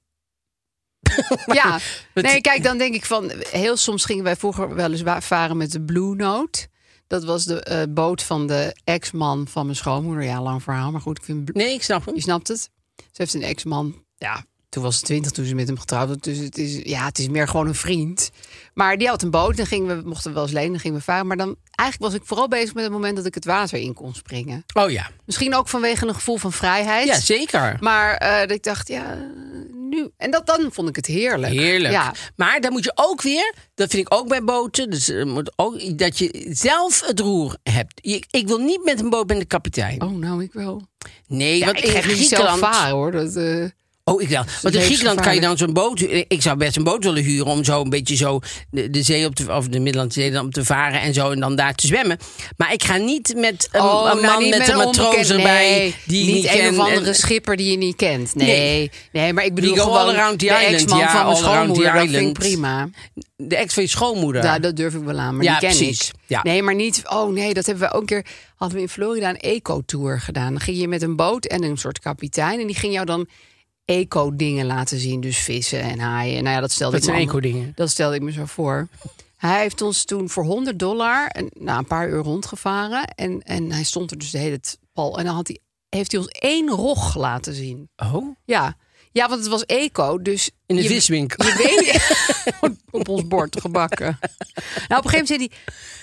Speaker 3: ja. Nee, kijk, dan denk ik van... Heel soms gingen wij vroeger wel eens wa- varen met de Blue Note. Dat was de eh, boot van de ex-man van mijn schoonmoeder. Ja, lang verhaal, maar goed. Ik vind
Speaker 1: Nee, ik snap hem.
Speaker 3: je snapt het. Ze heeft een ex-man. Ja, toen was ze twintig toen ze met hem getrouwd was. Dus het is, ja, het is meer gewoon een vriend. Maar die had een boot. Dan gingen we, mochten we wel eens lenen, dan gingen we varen. Maar dan eigenlijk was ik vooral bezig met het moment dat ik het water in kon springen.
Speaker 1: Oh ja.
Speaker 3: Misschien ook vanwege een gevoel van vrijheid.
Speaker 1: Ja, zeker.
Speaker 3: Maar eh, dat ik dacht, ja, nu. En dat, dan vond ik het heerlijk.
Speaker 1: Heerlijk.
Speaker 3: Ja.
Speaker 1: Maar dan moet je ook weer, dat vind ik ook bij boten, dus er moet ook, dat je zelf het roer hebt. Je- ik wil niet met een boot met de kapitein.
Speaker 3: Oh, nou, ik wel.
Speaker 1: nee,
Speaker 3: Ja,
Speaker 1: want
Speaker 3: ik
Speaker 1: in
Speaker 3: ga niet zelf
Speaker 1: Griekenland.
Speaker 3: varen, hoor. Dat, eh,
Speaker 1: Oh, ik wel. Want in Griekenland kan je dan zo'n boot. hu- Ik zou best een boot willen huren om zo een beetje zo de, de zee op te, of de Middellandse Zee dan op te varen en zo en dan daar te zwemmen. Maar ik ga niet met een,
Speaker 3: Oh,
Speaker 1: een man
Speaker 3: nou, niet
Speaker 1: met een matroos
Speaker 3: onbekend-
Speaker 1: erbij
Speaker 3: nee,
Speaker 1: die ik
Speaker 3: niet
Speaker 1: niet
Speaker 3: een
Speaker 1: ken
Speaker 3: of andere
Speaker 1: en-
Speaker 3: schipper die je niet kent. Nee,
Speaker 1: Nee.
Speaker 3: nee, maar ik bedoel
Speaker 1: go all
Speaker 3: gewoon
Speaker 1: around the
Speaker 3: de
Speaker 1: island,
Speaker 3: ex-man
Speaker 1: ja,
Speaker 3: van mijn
Speaker 1: all around the
Speaker 3: schoonmoeder. Dat vind ik
Speaker 1: island.
Speaker 3: prima.
Speaker 1: de ex van je schoonmoeder.
Speaker 3: Ja, Nou, dat durf ik wel aan, maar
Speaker 1: Ja,
Speaker 3: die ken
Speaker 1: precies.
Speaker 3: ik.
Speaker 1: Ja.
Speaker 3: Nee, maar niet. Oh nee, dat hebben we ook een keer. Hadden we in Florida een eco-tour gedaan. Dan ging je met een boot en een soort kapitein en die ging jou dan eco-dingen laten zien, dus vissen en haaien. Nou ja, dat stelde
Speaker 1: Dat
Speaker 3: ik me
Speaker 1: zijn
Speaker 3: allemaal-
Speaker 1: eco-dingen.
Speaker 3: Dat stelde ik me zo voor. Hij heeft ons toen voor 100 dollar en nou, een paar uur rondgevaren en en hij stond er dus de hele tijd pal en dan had hij heeft hij ons één rog laten zien.
Speaker 1: Oh,
Speaker 3: Ja. Ja, want het was eco, dus
Speaker 1: In de
Speaker 3: Je-
Speaker 1: viswinkel.
Speaker 3: Je <laughs> weet op ons bord gebakken. Nou, op een gegeven moment zei hij...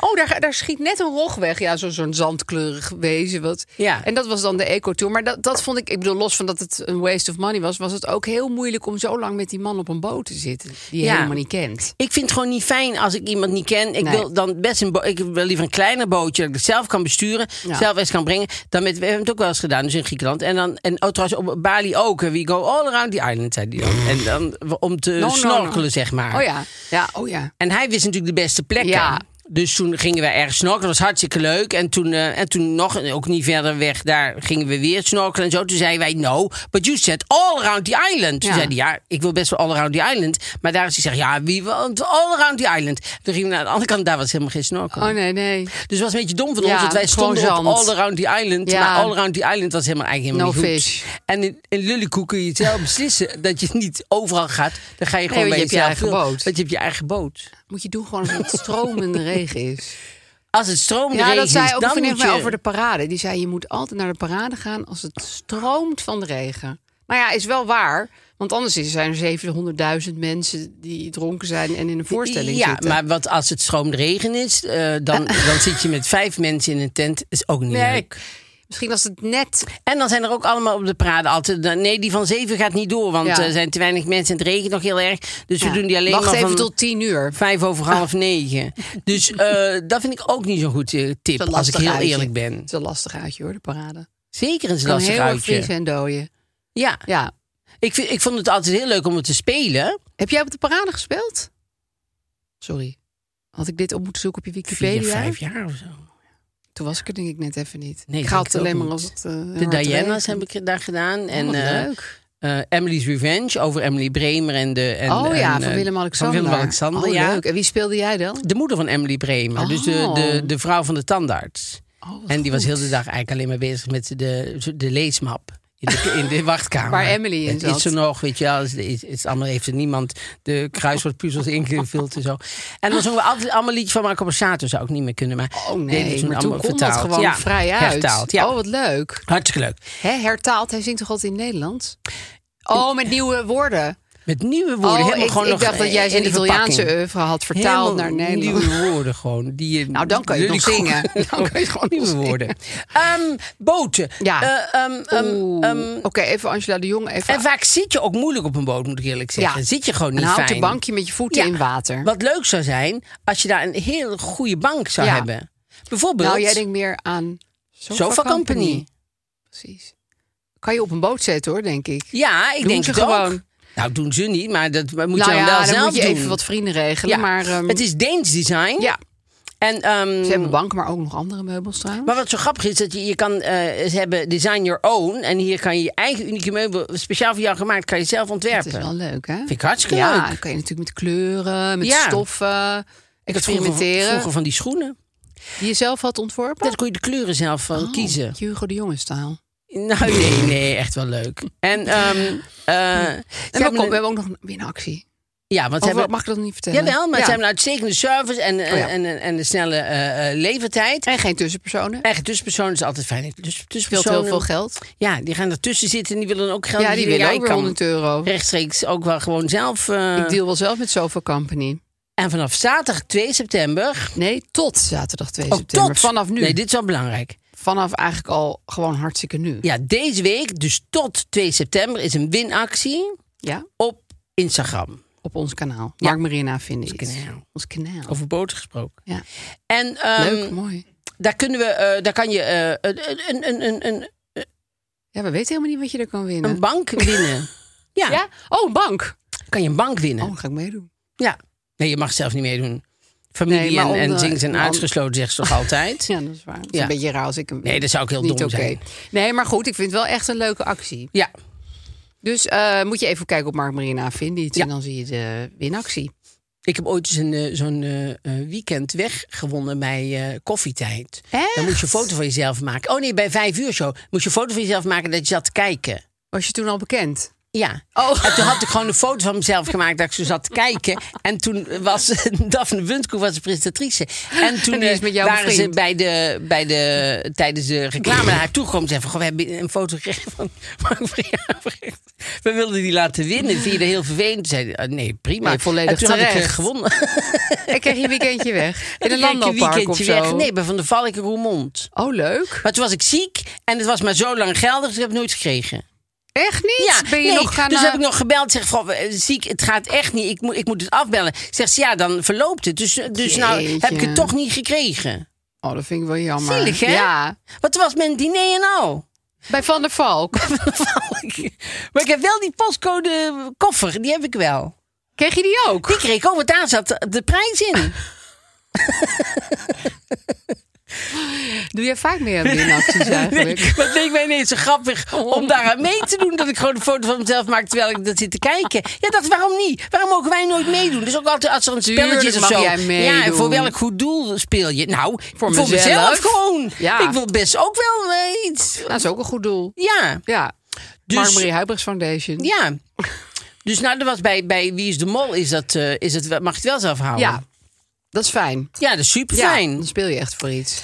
Speaker 3: Oh, daar, daar schiet net een rog weg. Ja, zo- zo'n zandkleurig wezen. Wat.
Speaker 1: Ja.
Speaker 3: En dat was dan de eco-tour. Maar dat, dat vond ik... Ik bedoel, los van dat het een waste of money was... was het ook heel moeilijk om zo lang met die man op een boot te zitten... die je
Speaker 1: Ja.
Speaker 3: helemaal niet kent.
Speaker 1: Ik vind het gewoon niet fijn als ik iemand niet ken. Ik
Speaker 3: Nee.
Speaker 1: wil dan best een bo- ik wil liever een kleiner bootje dat ik het zelf kan besturen,
Speaker 3: Ja.
Speaker 1: zelf eens kan brengen. Dan met we hebben het ook wel eens gedaan, dus in Griekenland en dan en oh, trouwens op Bali ook. hè. We go all around the island zei die dan. En dan om te
Speaker 3: no, no.
Speaker 1: snorkelen zeg maar.
Speaker 3: Oh ja. Ja, oh ja.
Speaker 1: En hij wist natuurlijk de beste plekken.
Speaker 3: Ja.
Speaker 1: Dus toen gingen we ergens snorkelen. Dat was hartstikke leuk. En toen, eh, en toen nog, ook niet verder weg, daar gingen we weer snorkelen en zo. Toen zeiden wij, no, but you said all around the island. Toen
Speaker 3: Ja.
Speaker 1: zei hij, ja, ik wil best wel all around the island. Maar daar is hij zegt, ja, wie want all around the island. Toen gingen we naar de andere kant, daar was helemaal geen snorkelen.
Speaker 3: Oh nee, nee.
Speaker 1: Dus het was een beetje dom van
Speaker 3: Ja,
Speaker 1: ons, dat wij
Speaker 3: gewoon
Speaker 1: stonden op
Speaker 3: zand.
Speaker 1: all around the island.
Speaker 3: Ja.
Speaker 1: Maar all around the island was helemaal eigenlijk helemaal
Speaker 3: No
Speaker 1: niet goed.
Speaker 3: fish.
Speaker 1: En in, in Lullykoe kun je het zelf beslissen dat je niet overal gaat. Dan ga je gewoon
Speaker 3: want
Speaker 1: bij
Speaker 3: je hebt je
Speaker 1: jezelf
Speaker 3: eigen
Speaker 1: filmen.
Speaker 3: boot.
Speaker 1: Want je hebt je eigen boot.
Speaker 3: Moet je doen gewoon als het stromende regen is.
Speaker 1: Als het stroom
Speaker 3: Ja, dat zei
Speaker 1: is,
Speaker 3: ook
Speaker 1: dan
Speaker 3: een vriendin
Speaker 1: moet
Speaker 3: van mij
Speaker 1: je...
Speaker 3: over de parade. Die zei, je moet altijd naar de parade gaan als het stroomt van de regen. Maar ja, is wel waar. Want anders is- zijn er 700.000 mensen die dronken zijn en in een voorstelling
Speaker 1: ja,
Speaker 3: zitten.
Speaker 1: maar wat als het stroomregen is, eh,
Speaker 3: <laughs>
Speaker 1: dan, dan zit je met vijf mensen in een tent. Is ook niet
Speaker 3: Nee.
Speaker 1: leuk.
Speaker 3: Misschien was het net...
Speaker 1: En dan zijn er ook allemaal op de parade altijd. dan- Nee, die van zeven gaat niet door, want
Speaker 3: Ja.
Speaker 1: er zijn te weinig mensen en het regent nog heel erg. Dus
Speaker 3: Ja,
Speaker 1: we doen die alleen
Speaker 3: wacht
Speaker 1: maar
Speaker 3: even
Speaker 1: van
Speaker 3: tot 10 uur.
Speaker 1: vijf over
Speaker 3: <laughs>
Speaker 1: half negen. Dus eh, dat vind ik ook niet zo'n goed eh, tip,
Speaker 3: Dat is een
Speaker 1: als ik heel
Speaker 3: lastig uitje.
Speaker 1: eerlijk ben.
Speaker 3: Het is een lastig uitje hoor, de parade.
Speaker 1: Zeker een
Speaker 3: Kan
Speaker 1: lastig
Speaker 3: heel erg
Speaker 1: uitje.
Speaker 3: vriezen en dooien.
Speaker 1: Ja,
Speaker 3: Ja.
Speaker 1: ik, vind, ik vond het altijd heel leuk om het te spelen.
Speaker 3: Heb jij op de parade gespeeld? Sorry. Had ik dit op moeten zoeken op je Wikipedia?
Speaker 1: Vier, vijf jaar of zo.
Speaker 3: Toen was ik er denk ik net even niet.
Speaker 1: Nee,
Speaker 3: ik
Speaker 1: denk
Speaker 3: ga het
Speaker 1: ik ook
Speaker 3: alleen maar
Speaker 1: niet.
Speaker 3: als het eh,
Speaker 1: De
Speaker 3: hard
Speaker 1: Diana's
Speaker 3: regent.
Speaker 1: heb ik daar gedaan. En,
Speaker 3: Oh, wat
Speaker 1: eh,
Speaker 3: leuk.
Speaker 1: eh, Emily's Revenge over Emily Bremer en de. En,
Speaker 3: oh ja,
Speaker 1: en,
Speaker 3: van
Speaker 1: eh,
Speaker 3: Willem-Alexander.
Speaker 1: Van Willem-Alexander,
Speaker 3: oh,
Speaker 1: ja.
Speaker 3: leuk. En wie speelde jij dan?
Speaker 1: De moeder van Emily Bremer, dus de,
Speaker 3: Oh.
Speaker 1: de, de vrouw van de tandarts.
Speaker 3: Oh, wat
Speaker 1: en die was
Speaker 3: goed.
Speaker 1: heel de dag eigenlijk alleen maar bezig met de, de leesmap. In de, in de wachtkamer.
Speaker 3: Waar Emily in
Speaker 1: Het
Speaker 3: zat.
Speaker 1: Is er nog, weet je wel. Is, is, is allemaal, heeft er niemand de kruiswoordpuzzels ingevuld en zo. En dan zongen we altijd allemaal liedjes van Marco Borsato. Zou ik niet meer kunnen, maar...
Speaker 3: Oh
Speaker 1: dit is
Speaker 3: nee, maar toen
Speaker 1: allemaal
Speaker 3: kon dat
Speaker 1: vertaald.
Speaker 3: gewoon
Speaker 1: Ja,
Speaker 3: vrij uit.
Speaker 1: Hertaald, ja.
Speaker 3: Oh, wat leuk.
Speaker 1: Hartstikke leuk.
Speaker 3: Hè, hertaald, hij zingt toch altijd in Nederlands? Oh, met nieuwe woorden.
Speaker 1: Met nieuwe woorden.
Speaker 3: oh,
Speaker 1: helemaal
Speaker 3: ik,
Speaker 1: gewoon
Speaker 3: ik
Speaker 1: nog
Speaker 3: dacht dat jij
Speaker 1: in
Speaker 3: zijn
Speaker 1: de
Speaker 3: Italiaanse
Speaker 1: verpakking.
Speaker 3: oeuvre had vertaald
Speaker 1: Helemaal
Speaker 3: naar Nederlands.
Speaker 1: Nieuwe woorden gewoon. Die je,
Speaker 3: Nou, dan kan je het nog
Speaker 1: jullie
Speaker 3: zingen.
Speaker 1: <laughs> gewoon-
Speaker 3: Dan kan je het gewoon
Speaker 1: nieuwe
Speaker 3: nog zingen.
Speaker 1: woorden. Ehm, boten.
Speaker 3: Ja.
Speaker 1: Eh, ehm, ehm,
Speaker 3: Oeh.
Speaker 1: ehm,
Speaker 3: Oké, even Angela de Jong. Even,
Speaker 1: en vaak zit je ook moeilijk op een boot, moet ik eerlijk zeggen. Zit je gewoon
Speaker 3: En
Speaker 1: niet
Speaker 3: houd
Speaker 1: fijn.
Speaker 3: je bankje met je voeten
Speaker 1: Ja.
Speaker 3: in water.
Speaker 1: Wat leuk zou zijn als je daar een heel goede bank zou
Speaker 3: Ja.
Speaker 1: hebben. Bijvoorbeeld.
Speaker 3: Nou, jij denkt meer aan Sofa,
Speaker 1: Sofa Company.
Speaker 3: Precies. Kan je op een boot zetten hoor, denk ik.
Speaker 1: Ja, ik
Speaker 3: Doen
Speaker 1: denk
Speaker 3: ze
Speaker 1: het ook.
Speaker 3: gewoon.
Speaker 1: Nou, doen ze niet, maar dat moet
Speaker 3: nou
Speaker 1: je dan
Speaker 3: ja,
Speaker 1: wel
Speaker 3: dan
Speaker 1: zelf
Speaker 3: moet je
Speaker 1: doen.
Speaker 3: even wat vrienden regelen.
Speaker 1: Ja.
Speaker 3: Maar, ehm,
Speaker 1: Het is Deens design.
Speaker 3: ja,
Speaker 1: En, ehm,
Speaker 3: ze hebben banken, maar ook nog andere meubels trouwens.
Speaker 1: Maar wat zo grappig is, dat je, je kan, eh, ze hebben design your own. En hier kan je je eigen unieke meubel, speciaal voor jou gemaakt, kan je zelf
Speaker 3: Het
Speaker 1: ontwerpen.
Speaker 3: is wel leuk, hè?
Speaker 1: Vind ik hartstikke
Speaker 3: ja,
Speaker 1: leuk.
Speaker 3: dan kan je natuurlijk met kleuren, met
Speaker 1: Ja.
Speaker 3: stoffen,
Speaker 1: Ik had vroeger,
Speaker 3: experimenteren.
Speaker 1: vroeger van die schoenen.
Speaker 3: Die je zelf had ontworpen?
Speaker 1: Daar kon je de kleuren zelf van
Speaker 3: Oh,
Speaker 1: kiezen.
Speaker 3: Hugo de Jonge staal.
Speaker 1: Nou, nee, nee, echt wel leuk. En, ehm eh, ze
Speaker 3: En we,
Speaker 1: hebben
Speaker 3: kom- we
Speaker 1: een-
Speaker 3: hebben ook nog een winactie.
Speaker 1: ja, want ze
Speaker 3: Of
Speaker 1: hebben,
Speaker 3: mag ik dat niet vertellen?
Speaker 1: jawel, maar
Speaker 3: Ja.
Speaker 1: ze hebben een uitstekende service en, en,
Speaker 3: Oh ja.
Speaker 1: en, en de snelle eh, eh, levertijd.
Speaker 3: En geen tussenpersonen.
Speaker 1: Eigen tussenpersoon is altijd fijn. Dus
Speaker 3: Scheelt
Speaker 1: tussenpersonen,
Speaker 3: heel veel geld.
Speaker 1: Ja, die gaan ertussen zitten en die willen ook geld.
Speaker 3: Ja, die willen
Speaker 1: jij
Speaker 3: ook weer
Speaker 1: kan
Speaker 3: 100 euro.
Speaker 1: Rechtstreeks ook wel gewoon zelf. eh,
Speaker 3: Ik deal wel zelf met Sofa Company.
Speaker 1: En vanaf zaterdag 2 september.
Speaker 3: Nee, tot zaterdag 2
Speaker 1: Oh,
Speaker 3: september.
Speaker 1: tot.
Speaker 3: Vanaf nu.
Speaker 1: Nee, dit is wel belangrijk.
Speaker 3: Vanaf eigenlijk al gewoon hartstikke nu.
Speaker 1: Ja, deze week, dus tot 2 september, is een winactie
Speaker 3: Ja,
Speaker 1: op Instagram.
Speaker 3: op ons kanaal.
Speaker 1: Ja.
Speaker 3: Mark Marina vinden
Speaker 1: Ons
Speaker 3: iets.
Speaker 1: kanaal.
Speaker 3: Ons kanaal.
Speaker 1: Over boten gesproken.
Speaker 3: Ja.
Speaker 1: En ehm,
Speaker 3: Leuk, mooi.
Speaker 1: daar kunnen we, eh, daar kan je eh, een, een, een, een, een,
Speaker 3: Ja, we weten helemaal niet wat je er kan winnen.
Speaker 1: een bank
Speaker 3: <laughs>
Speaker 1: winnen. ja,
Speaker 3: Ja? Oh, een bank.
Speaker 1: kan je een bank winnen.
Speaker 3: Oh, dan ga ik meedoen.
Speaker 1: Ja. Nee, je mag zelf niet meedoen. Familie
Speaker 3: Nee, maar
Speaker 1: en, en
Speaker 3: onder-
Speaker 1: zingen zijn
Speaker 3: maar om-
Speaker 1: uitgesloten, zegt ze
Speaker 3: <laughs>
Speaker 1: toch altijd?
Speaker 3: Ja, dat is waar. Het is
Speaker 1: Ja.
Speaker 3: een beetje raar als ik hem...
Speaker 1: Nee, dat zou ook heel
Speaker 3: niet
Speaker 1: dom
Speaker 3: oké.
Speaker 1: zijn.
Speaker 3: Nee, maar goed, ik vind het wel echt een leuke actie.
Speaker 1: Ja,
Speaker 3: Dus eh, moet je even kijken op Mark Marina vinden iets.
Speaker 1: Ja.
Speaker 3: En dan zie je de winactie.
Speaker 1: ik heb ooit eens een, eh, zo'n eh, eh, weekend weggewonnen bij eh, koffietijd. Dan
Speaker 3: Echt?
Speaker 1: moest je een foto van jezelf maken. Oh nee, bij vijf uur zo. Moest je een foto van jezelf maken dat je zat te kijken. <laughs>
Speaker 3: Was je toen al bekend?
Speaker 1: Ja.
Speaker 3: Oh.
Speaker 1: En toen had ik gewoon een foto van mezelf gemaakt dat ik zo zat te kijken. En toen was <laughs> Daphne Wundkoek was de presentatrice. En toen
Speaker 3: En die is
Speaker 1: eh,
Speaker 3: met jou
Speaker 1: waren ze
Speaker 3: bevriend.
Speaker 1: bij de, bij de, tijdens de
Speaker 3: <clears throat>
Speaker 1: reclame naar haar toe gekomen. Ze zei van, "Goh, we hebben een foto gekregen van Mark Verjaardag. We wilden die laten winnen. Vind je dat heel vervelend? Toen Zei, die, "Ah, nee, prima.
Speaker 3: Nee, volledig
Speaker 1: en toen had ik
Speaker 3: terecht.
Speaker 1: eh, gewonnen.
Speaker 3: Ik kreeg je weekendje weg. In een
Speaker 1: Toen kreeg ik
Speaker 3: landbouwpark of
Speaker 1: weekendje
Speaker 3: zo.
Speaker 1: weg. Nee, bij Van der Valk in Roermond.
Speaker 3: Oh, leuk.
Speaker 1: Maar toen was ik ziek en het was maar zo lang geldig, dus ik heb het nooit gekregen.
Speaker 3: Echt niet? ben je
Speaker 1: nee.
Speaker 3: nog gaan...
Speaker 1: dus
Speaker 3: eh,
Speaker 1: heb ik nog gebeld. Zeg, goh, eh, ziek, het gaat echt niet. Ik moet, ik moet het afbellen. Zegt ze, ja, dan verloopt het. Dus, dus nou
Speaker 3: Jeetje.
Speaker 1: heb ik het toch niet gekregen.
Speaker 3: Oh, dat vind ik wel jammer.
Speaker 1: Zielig, hè?
Speaker 3: Ja.
Speaker 1: Wat was mijn diner en al? <laughs>
Speaker 3: Bij Van der Valk.
Speaker 1: maar ik heb wel die postcode koffer. Die heb ik wel.
Speaker 3: Kreeg je die ook?
Speaker 1: Die kreeg ik ook, want daar zat de, de prijs in.
Speaker 3: Doe jij vaak meer aan winacties
Speaker 1: <laughs>
Speaker 3: eigenlijk?
Speaker 1: Nee, wat leek mij ineens zo grappig
Speaker 3: Oh.
Speaker 1: om daaraan mee te doen. Dat ik gewoon een foto van mezelf maak terwijl ik dat zit te kijken. Ja, dat waarom niet? Waarom mogen wij nooit meedoen? Dus ook altijd als er een spelletje is
Speaker 3: Tuurlijk
Speaker 1: of
Speaker 3: mag
Speaker 1: zo.
Speaker 3: jij meedoen.
Speaker 1: Ja, en voor welk goed doel speel je? Nou, voor, mezelf.
Speaker 3: mezelf.
Speaker 1: gewoon.
Speaker 3: Ja.
Speaker 1: Ik wil best ook wel eh, iets.
Speaker 3: Dat Nou, is ook een goed doel.
Speaker 1: Ja,
Speaker 3: Ja.
Speaker 1: Dus-
Speaker 3: Dus, Mark Marie Huibrechts Foundation.
Speaker 1: ja. Dus nou, dat was bij, bij Wie is de Mol is dat, eh, is het, mag je het wel zelf houden.
Speaker 3: Ja, Oh, dat is fijn.
Speaker 1: ja dat is super
Speaker 3: Ja,
Speaker 1: fijn.
Speaker 3: dan speel je echt voor iets.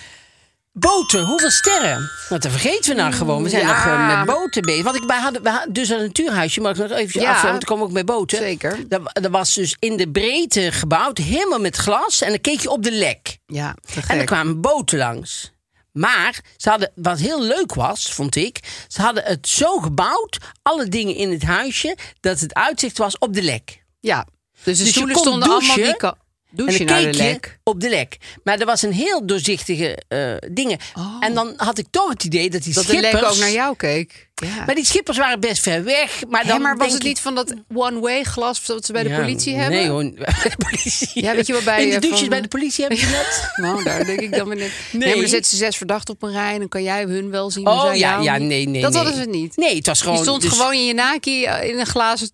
Speaker 1: Boten, hoeveel sterren? Want dat vergeten we nou gewoon. We zijn
Speaker 3: Mm, Ja.
Speaker 1: nog eh, met boten bezig. Want ik, wij hadden, we hadden dus een natuurhuisje, maar ik nog even
Speaker 3: Ja.
Speaker 1: afvullen, want ik kom ook met boten.
Speaker 3: Zeker.
Speaker 1: Dat, dat was dus in de breedte gebouwd, helemaal met glas. En dan keek je op de lek.
Speaker 3: Ja, te
Speaker 1: En er
Speaker 3: gek.
Speaker 1: kwamen boten langs. Maar ze hadden, wat heel leuk was, vond ik, ze hadden het zo gebouwd, alle dingen in het huisje, dat het uitzicht was op de lek.
Speaker 3: Ja. Dus de
Speaker 1: je
Speaker 3: stoelen
Speaker 1: kon
Speaker 3: stonden
Speaker 1: douchen.
Speaker 3: allemaal die ka- douchen
Speaker 1: en dan
Speaker 3: naar de
Speaker 1: keek je
Speaker 3: lek.
Speaker 1: op de lek. Maar er was een heel doorzichtige eh, dingen. En dan had ik toch het idee dat die
Speaker 3: Oh. Dat de
Speaker 1: schippers...
Speaker 3: lek ook naar jou keek. Ja.
Speaker 1: Maar die schippers waren best ver weg. Maar,
Speaker 3: Hé,
Speaker 1: dan
Speaker 3: maar was
Speaker 1: denk
Speaker 3: het
Speaker 1: ik-
Speaker 3: niet van dat one-way glas dat ze bij de
Speaker 1: Ja,
Speaker 3: politie hebben?
Speaker 1: Nee hoor, bij de politie.
Speaker 3: Ja, weet je wel, bij,
Speaker 1: In de
Speaker 3: eh,
Speaker 1: douches
Speaker 3: van-
Speaker 1: bij de politie heb je dat?
Speaker 3: Nou, daar denk ik dan weer net. Nee, maar dan zetten ze zes verdachten op een rij en dan kan jij hun wel zien. maar
Speaker 1: Oh
Speaker 3: zij
Speaker 1: ja,
Speaker 3: jou
Speaker 1: ja,
Speaker 3: niet.
Speaker 1: nee, nee.
Speaker 3: Dat
Speaker 1: nee.
Speaker 3: hadden ze niet.
Speaker 1: Nee, het was gewoon...
Speaker 3: je stond
Speaker 1: dus
Speaker 3: gewoon in je naki eh, in een glazen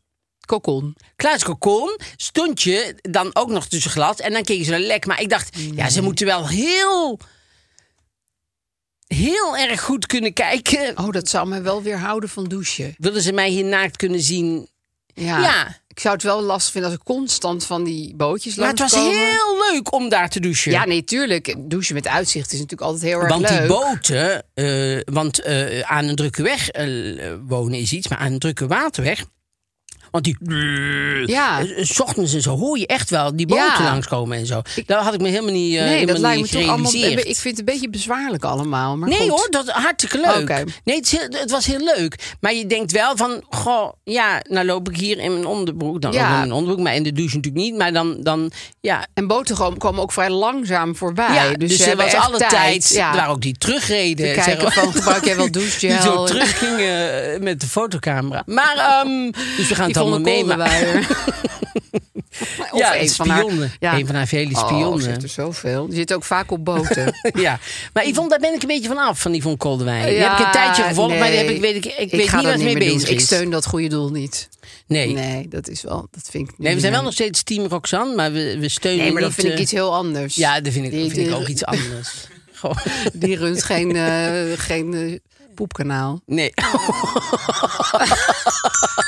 Speaker 3: kokon.
Speaker 1: Klaas Kokon stond je dan ook nog tussen glas. En dan keken ze naar lek. Maar ik dacht, ja, ze moeten wel heel... Heel erg goed kunnen kijken.
Speaker 3: Oh, dat zou me wel weer houden van douchen.
Speaker 1: Willen ze mij hier naakt kunnen zien?
Speaker 3: Ja.
Speaker 1: Ja.
Speaker 3: Ik zou het wel lastig vinden als ik constant van die bootjes
Speaker 1: Maar het was
Speaker 3: langskomen.
Speaker 1: heel leuk om daar te douchen.
Speaker 3: Ja, nee, tuurlijk. Douchen met uitzicht is natuurlijk altijd heel erg
Speaker 1: Want
Speaker 3: leuk.
Speaker 1: die boten, eh, want eh, aan een drukke weg eh, wonen is iets, maar aan een drukke waterweg. Want die.
Speaker 3: Ja.
Speaker 1: Eh, eh, 's ochtends en zo hoor je echt wel die boten
Speaker 3: Ja.
Speaker 1: langskomen en zo. Daar had ik me helemaal niet. eh
Speaker 3: nee, dat
Speaker 1: helemaal
Speaker 3: lijkt me
Speaker 1: niet
Speaker 3: toch allemaal...
Speaker 1: gerealiseerd.
Speaker 3: Ik vind het een beetje bezwaarlijk allemaal. Maar
Speaker 1: Nee
Speaker 3: goed.
Speaker 1: hoor, dat hartstikke leuk.
Speaker 3: Oké.
Speaker 1: Nee, het, is heel- het was heel leuk. Maar je denkt wel van, goh, ja, nou loop ik hier in mijn onderbroek. Dan
Speaker 3: Ja.
Speaker 1: ook in mijn onderbroek, maar in de douche natuurlijk niet. Maar dan, dan ja,
Speaker 3: En boten gewoon- komen ook vrij langzaam voorbij.
Speaker 1: Ja,
Speaker 3: dus
Speaker 1: dus,
Speaker 3: ze
Speaker 1: er
Speaker 3: hebben
Speaker 1: was
Speaker 3: echt
Speaker 1: alle tijd.
Speaker 3: Ja.
Speaker 1: Er waren ook die terugreden.
Speaker 3: Te kijken
Speaker 1: Zeg-
Speaker 3: van, gebruik jij wel douchegel?
Speaker 1: <laughs> Die zo teruggingen eh, met de fotocamera. Maar, ehm, dus we gaan het
Speaker 3: Die
Speaker 1: allemaal
Speaker 3: vonden
Speaker 1: meemaken. <laughs> Ja,
Speaker 3: een van haar...
Speaker 1: spionnen.
Speaker 3: ja.
Speaker 1: Een van haar vele
Speaker 3: Oh, ze
Speaker 1: spionnen.
Speaker 3: heeft er zoveel. Die zit ook vaak op boten.
Speaker 1: <laughs> ja, maar Yvonne, daar ben ik een beetje van af, van Yvonne Koldewijn. die
Speaker 3: Ja,
Speaker 1: heb ik een tijdje gevolgd, maar die heb
Speaker 3: nee.
Speaker 1: ik, weet ik, ik,
Speaker 3: Ik
Speaker 1: weet
Speaker 3: ga
Speaker 1: niet
Speaker 3: dat
Speaker 1: waar ze mee
Speaker 3: meer doen.
Speaker 1: bezig
Speaker 3: Ik
Speaker 1: is.
Speaker 3: steun dat goede doel niet.
Speaker 1: nee. nee.
Speaker 3: Nee, dat is wel... Dat vind ik
Speaker 1: we zijn wel
Speaker 3: niet.
Speaker 1: nog steeds team Roxanne, maar we, we steunen
Speaker 3: Nee, maar dat
Speaker 1: niet,
Speaker 3: vind ik
Speaker 1: eh,
Speaker 3: iets heel anders.
Speaker 1: Ja, dat vind ik,
Speaker 3: Die-
Speaker 1: vind ik
Speaker 3: die-
Speaker 1: ook iets anders. Gewoon,
Speaker 3: <laughs> Die runt geen, eh, geen eh, poepkanaal.
Speaker 1: nee. <laughs>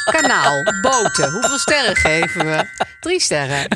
Speaker 3: Kanaal, boten. Hoeveel sterren geven we? Drie sterren.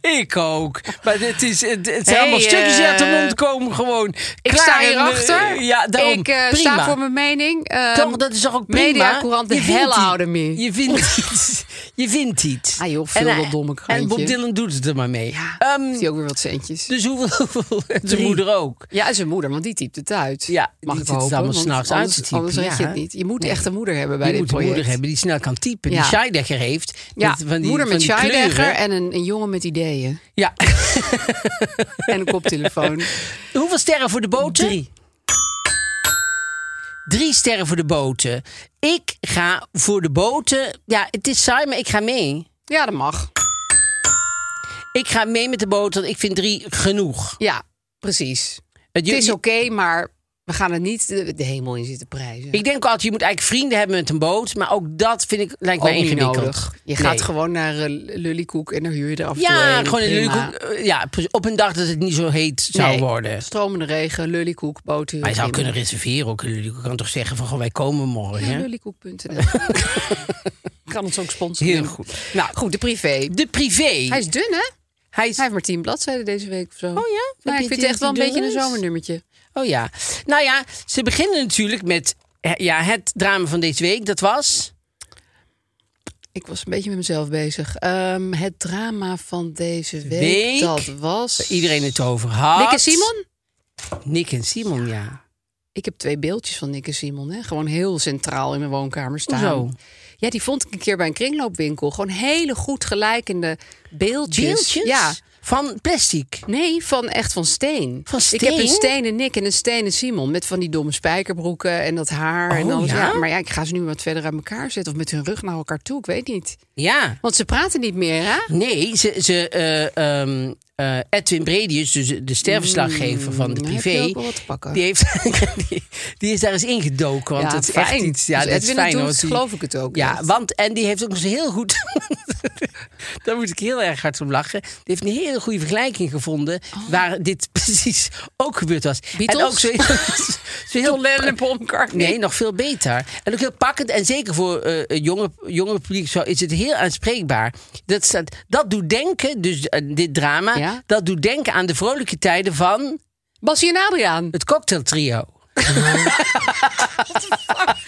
Speaker 1: Ik ook. Maar het, is, het, het zijn
Speaker 3: Hey,
Speaker 1: allemaal stukjes die uit de
Speaker 3: eh,
Speaker 1: mond komen gewoon.
Speaker 3: Ik
Speaker 1: Klaar
Speaker 3: sta
Speaker 1: en, eh,
Speaker 3: hierachter.
Speaker 1: Ja, daarom.
Speaker 3: Ik eh,
Speaker 1: prima.
Speaker 3: sta voor mijn mening. Eh,
Speaker 1: Toch, dat is toch ook prima?
Speaker 3: Mediacourant, de
Speaker 1: Je vindt
Speaker 3: hell
Speaker 1: iets.
Speaker 3: out of me.
Speaker 1: Je vindt <laughs> iets. Je vindt iets.
Speaker 3: Ah, joh, vul
Speaker 1: En,
Speaker 3: dat
Speaker 1: eh,
Speaker 3: domme
Speaker 1: En
Speaker 3: krantje.
Speaker 1: Bob Dylan doet het er maar mee.
Speaker 3: Ja,
Speaker 1: Ehm,
Speaker 3: heeft hij ook weer wat centjes.
Speaker 1: dus hoeveel... <laughs> hoeveel- en zijn moeder ook.
Speaker 3: ja, en zijn moeder, want die typt het uit.
Speaker 1: Ja, die
Speaker 3: Mag ik
Speaker 1: zit het
Speaker 3: hopen,
Speaker 1: allemaal
Speaker 3: want
Speaker 1: s'nachts
Speaker 3: anders-
Speaker 1: uit te typen,
Speaker 3: Anders weet je
Speaker 1: ja.
Speaker 3: het niet. Je moet echt een moeder hebben bij
Speaker 1: Je
Speaker 3: dit
Speaker 1: moet een
Speaker 3: project.
Speaker 1: moeder hebben die snel kan typen. Die
Speaker 3: Ja.
Speaker 1: Scheidegger heeft.
Speaker 3: Ja,
Speaker 1: Met van die,
Speaker 3: moeder
Speaker 1: van
Speaker 3: met
Speaker 1: die
Speaker 3: Scheidegger
Speaker 1: kleuren.
Speaker 3: en een, een jongen met ideeën.
Speaker 1: Ja. <laughs>
Speaker 3: En een koptelefoon.
Speaker 1: Hoeveel sterren voor de boten? Drie. Drie sterren voor de boten. Ik ga voor de boten. Ja, het is saai, maar ik ga mee.
Speaker 3: Ja, dat mag.
Speaker 1: Ik ga mee met de boten, want ik vind drie genoeg.
Speaker 3: Ja, precies.
Speaker 1: Het
Speaker 3: Het is oké, maar We gaan er niet de, de hemel in zitten prijzen.
Speaker 1: Ik denk ook altijd, je moet eigenlijk vrienden hebben met een boot. Maar ook dat vind ik, lijkt mij
Speaker 3: Ook niet
Speaker 1: ingewikkeld.
Speaker 3: nodig. Je
Speaker 1: Nee.
Speaker 3: gaat gewoon naar eh, Lullykoek en dan huur je er af en toe
Speaker 1: Ja,
Speaker 3: een.
Speaker 1: gewoon in
Speaker 3: Prima.
Speaker 1: Lullykoek, eh, Ja, pre- op een dag dat het niet zo heet zou
Speaker 3: Nee,
Speaker 1: worden.
Speaker 3: Stromende regen, Lullykoek, boten.
Speaker 1: Maar je zou kunnen reserveren ook. in Lullykoek. Je kan toch zeggen van, goh, wij komen morgen. hè?
Speaker 3: Lullykoek.nl.
Speaker 1: <laughs>
Speaker 3: kan ons ook sponsoren.
Speaker 1: Heel goed.
Speaker 3: Nou, goed, de privé.
Speaker 1: De privé.
Speaker 3: Hij is dun, hè?
Speaker 1: Hij is-
Speaker 3: Hij heeft maar tien bladzijden deze week of zo.
Speaker 1: Oh ja? Heb
Speaker 3: Maar
Speaker 1: je
Speaker 3: ik vind
Speaker 1: die-
Speaker 3: het echt wel een
Speaker 1: die
Speaker 3: beetje een
Speaker 1: dunnere?
Speaker 3: zomernummertje.
Speaker 1: Oh ja. Nou ja, ze beginnen natuurlijk met eh, ja, het drama van deze week. Dat was...
Speaker 3: Ik was een beetje met mezelf bezig. Ehm, het drama van deze week,
Speaker 1: Week.
Speaker 3: dat was...
Speaker 1: Iedereen het over had.
Speaker 3: Nick en Simon?
Speaker 1: Nick en Simon, ja.
Speaker 3: Ik heb twee beeldjes van Nick en Simon. Hè? Gewoon heel centraal in mijn woonkamer staan.
Speaker 1: Hoezo?
Speaker 3: Ja, die vond ik een keer bij een kringloopwinkel. Gewoon hele goed gelijkende beeldjes.
Speaker 1: Beeldjes?
Speaker 3: Ja.
Speaker 1: Dus, Van plastic.
Speaker 3: Nee, van echt van steen.
Speaker 1: Van
Speaker 3: Ik heb een
Speaker 1: steen?
Speaker 3: stenen Nick en een stenen Simon. Met van die domme spijkerbroeken en dat haar en
Speaker 1: Oh,
Speaker 3: alles.
Speaker 1: ja?
Speaker 3: maar ja, ik ga ze nu wat verder aan elkaar zetten. Of met hun rug naar elkaar toe, ik weet niet.
Speaker 1: Ja.
Speaker 3: Want ze praten niet meer, hè?
Speaker 1: Nee, ze, ze, eh, ehm, eh, Edwin Bredius, dus de sterverslaggever van de
Speaker 3: dan Mm, heb
Speaker 1: privé...
Speaker 3: je ook wel wat te pakken.
Speaker 1: Die, heeft, <laughs> die, die is daar eens ingedoken, want
Speaker 3: Ja,
Speaker 1: het is echt
Speaker 3: fijn.
Speaker 1: iets... Ja,
Speaker 3: Als
Speaker 1: dat is
Speaker 3: Edwin het
Speaker 1: fijn,
Speaker 3: doet,
Speaker 1: want die-
Speaker 3: geloof ik het ook,
Speaker 1: Ja, <laughs>
Speaker 3: echt.
Speaker 1: want en die heeft ook eens een heel goed... <laughs> daar moet ik heel erg hard om lachen. Die heeft een hele goede vergelijking gevonden... waar dit <laughs> precies ook gebeurd was.
Speaker 3: Oh. Beatles?
Speaker 1: En ook zo, <laughs> zo heel...
Speaker 3: en Paul McCartney.
Speaker 1: Nee, nog veel beter. En ook heel pakkend. En zeker voor eh, een jonge, jonge publiek zo, is het heel aanspreekbaar. Dat, staat, dat doet denken, dus eh, dit drama...
Speaker 3: Ja.
Speaker 1: dat doet denken aan de vrolijke tijden van
Speaker 3: Bassie en
Speaker 1: <laughs>
Speaker 3: Adriaan.
Speaker 1: het cocktailtrio.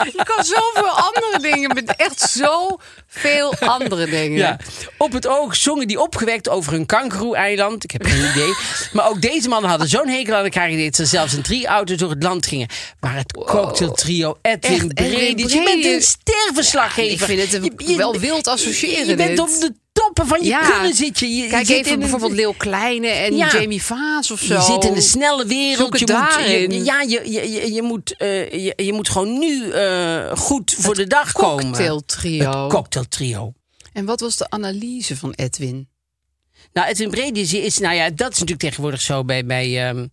Speaker 3: Ik kan zoveel andere dingen. Met echt zoveel andere dingen.
Speaker 1: Ja. Op het oog zongen die opgewekt over hun kangeroe-eiland. Ik heb
Speaker 3: <laughs>
Speaker 1: geen idee. Maar ook deze mannen hadden zo'n hekel aan elkaar dat ze zelfs in drie auto's door het land gingen. Maar het cocktailtrio Edwin
Speaker 3: Echt, Edwin
Speaker 1: Bredis. Je bent een
Speaker 3: Bredis.
Speaker 1: sterverslaggever.
Speaker 3: ik vind het een-
Speaker 1: Je- je-
Speaker 3: wel wild associëren,
Speaker 1: Je bent
Speaker 3: dit.
Speaker 1: op de toppen van je
Speaker 3: Ja.
Speaker 1: kunnen zit je. Je
Speaker 3: Kijk
Speaker 1: zit
Speaker 3: even
Speaker 1: in een-
Speaker 3: bijvoorbeeld Leeuw Kleine en
Speaker 1: Ja.
Speaker 3: Jamie Vaas of zo.
Speaker 1: Je zit in een snelle
Speaker 3: Zoek
Speaker 1: wereld.
Speaker 3: het
Speaker 1: Je moet, je,
Speaker 3: daarin.
Speaker 1: ja, je, je, je, je moet, eh, je, je moet gewoon nu eh, goed voor de dag komen.
Speaker 3: cocktailtrio.
Speaker 1: Cocktailtrio.
Speaker 3: En wat was de analyse van Edwin?
Speaker 1: Nou, Edwin Bredis is, nou ja, dat is natuurlijk tegenwoordig zo bij, bij, ehm,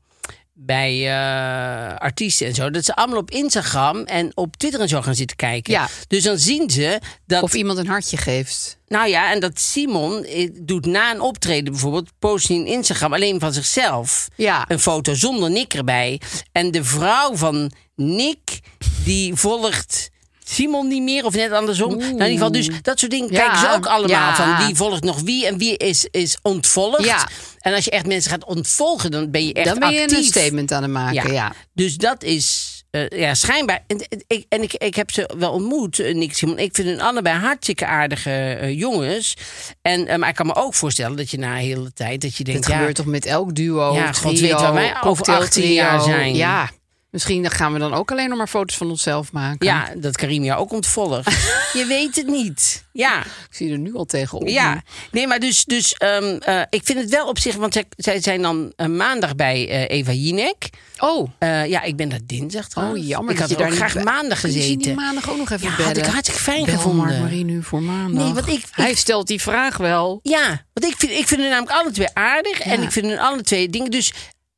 Speaker 1: bij eh, artiesten en zo. Dat ze allemaal op Instagram en op Twitter en zo gaan zitten kijken.
Speaker 3: Ja.
Speaker 1: Dus dan zien ze dat,
Speaker 3: Of iemand een hartje geeft.
Speaker 1: nou ja, en dat Simon eh, doet na een optreden bijvoorbeeld, post hij in Instagram alleen van zichzelf.
Speaker 3: Ja.
Speaker 1: Een foto zonder Nick erbij. En de vrouw van Nick, die volgt. Simon niet meer of net andersom. Nou, in ieder geval, dus dat soort dingen
Speaker 3: Ja.
Speaker 1: kijken ze ook allemaal.
Speaker 3: Ja.
Speaker 1: Van wie volgt nog wie en wie is, is ontvolgd.
Speaker 3: Ja.
Speaker 1: En als je echt mensen gaat ontvolgen, dan ben je echt
Speaker 3: Dan ben je
Speaker 1: actief.
Speaker 3: een statement aan het maken. Ja.
Speaker 1: Dus dat is eh, ja, schijnbaar. En, en ik, en ik, ik heb ze wel ontmoet, eh, Nick Simon. Ik vind hun allebei hartstikke aardige eh, jongens. En, eh, maar ik kan me ook voorstellen dat je na een hele tijd... dat je denkt,
Speaker 3: Dit
Speaker 1: ja,
Speaker 3: gebeurt toch met elk duo,
Speaker 1: Ja,
Speaker 3: trio,
Speaker 1: God weet waar wij over
Speaker 3: cocktailtrio.
Speaker 1: 18 jaar zijn.
Speaker 3: Ja, misschien dan gaan we dan ook alleen nog maar foto's van onszelf maken.
Speaker 1: Ja, dat Karim jou ook
Speaker 3: <laughs>
Speaker 1: ontvolgt. je weet het niet. Ja,
Speaker 3: Ik zie er nu al tegenop.
Speaker 1: ja. Nee, maar dus, dus ehm, eh, ik vind het wel op zich... want zij, zij zijn dan eh, maandag bij eh, Eva Jinek.
Speaker 3: Oh,
Speaker 1: Eh, ja, ik ben daar dinsdag trouwens.
Speaker 3: oh jammer.
Speaker 1: Ik
Speaker 3: dat
Speaker 1: had
Speaker 3: je
Speaker 1: ook
Speaker 3: daar niet
Speaker 1: graag
Speaker 3: bij-
Speaker 1: maandag
Speaker 3: Kun je die
Speaker 1: gezeten.
Speaker 3: maandag ook nog even
Speaker 1: Ja,
Speaker 3: bellen.
Speaker 1: had ik hartstikke fijn
Speaker 3: Bel
Speaker 1: gevonden.
Speaker 3: Mark Marie nu voor maandag.
Speaker 1: Nee, want ik- ik-
Speaker 3: Hij stelt die vraag wel.
Speaker 1: Ja, want ik vind, ik vind hun namelijk alle twee aardig. En ik vind hun alle twee dingen. Dus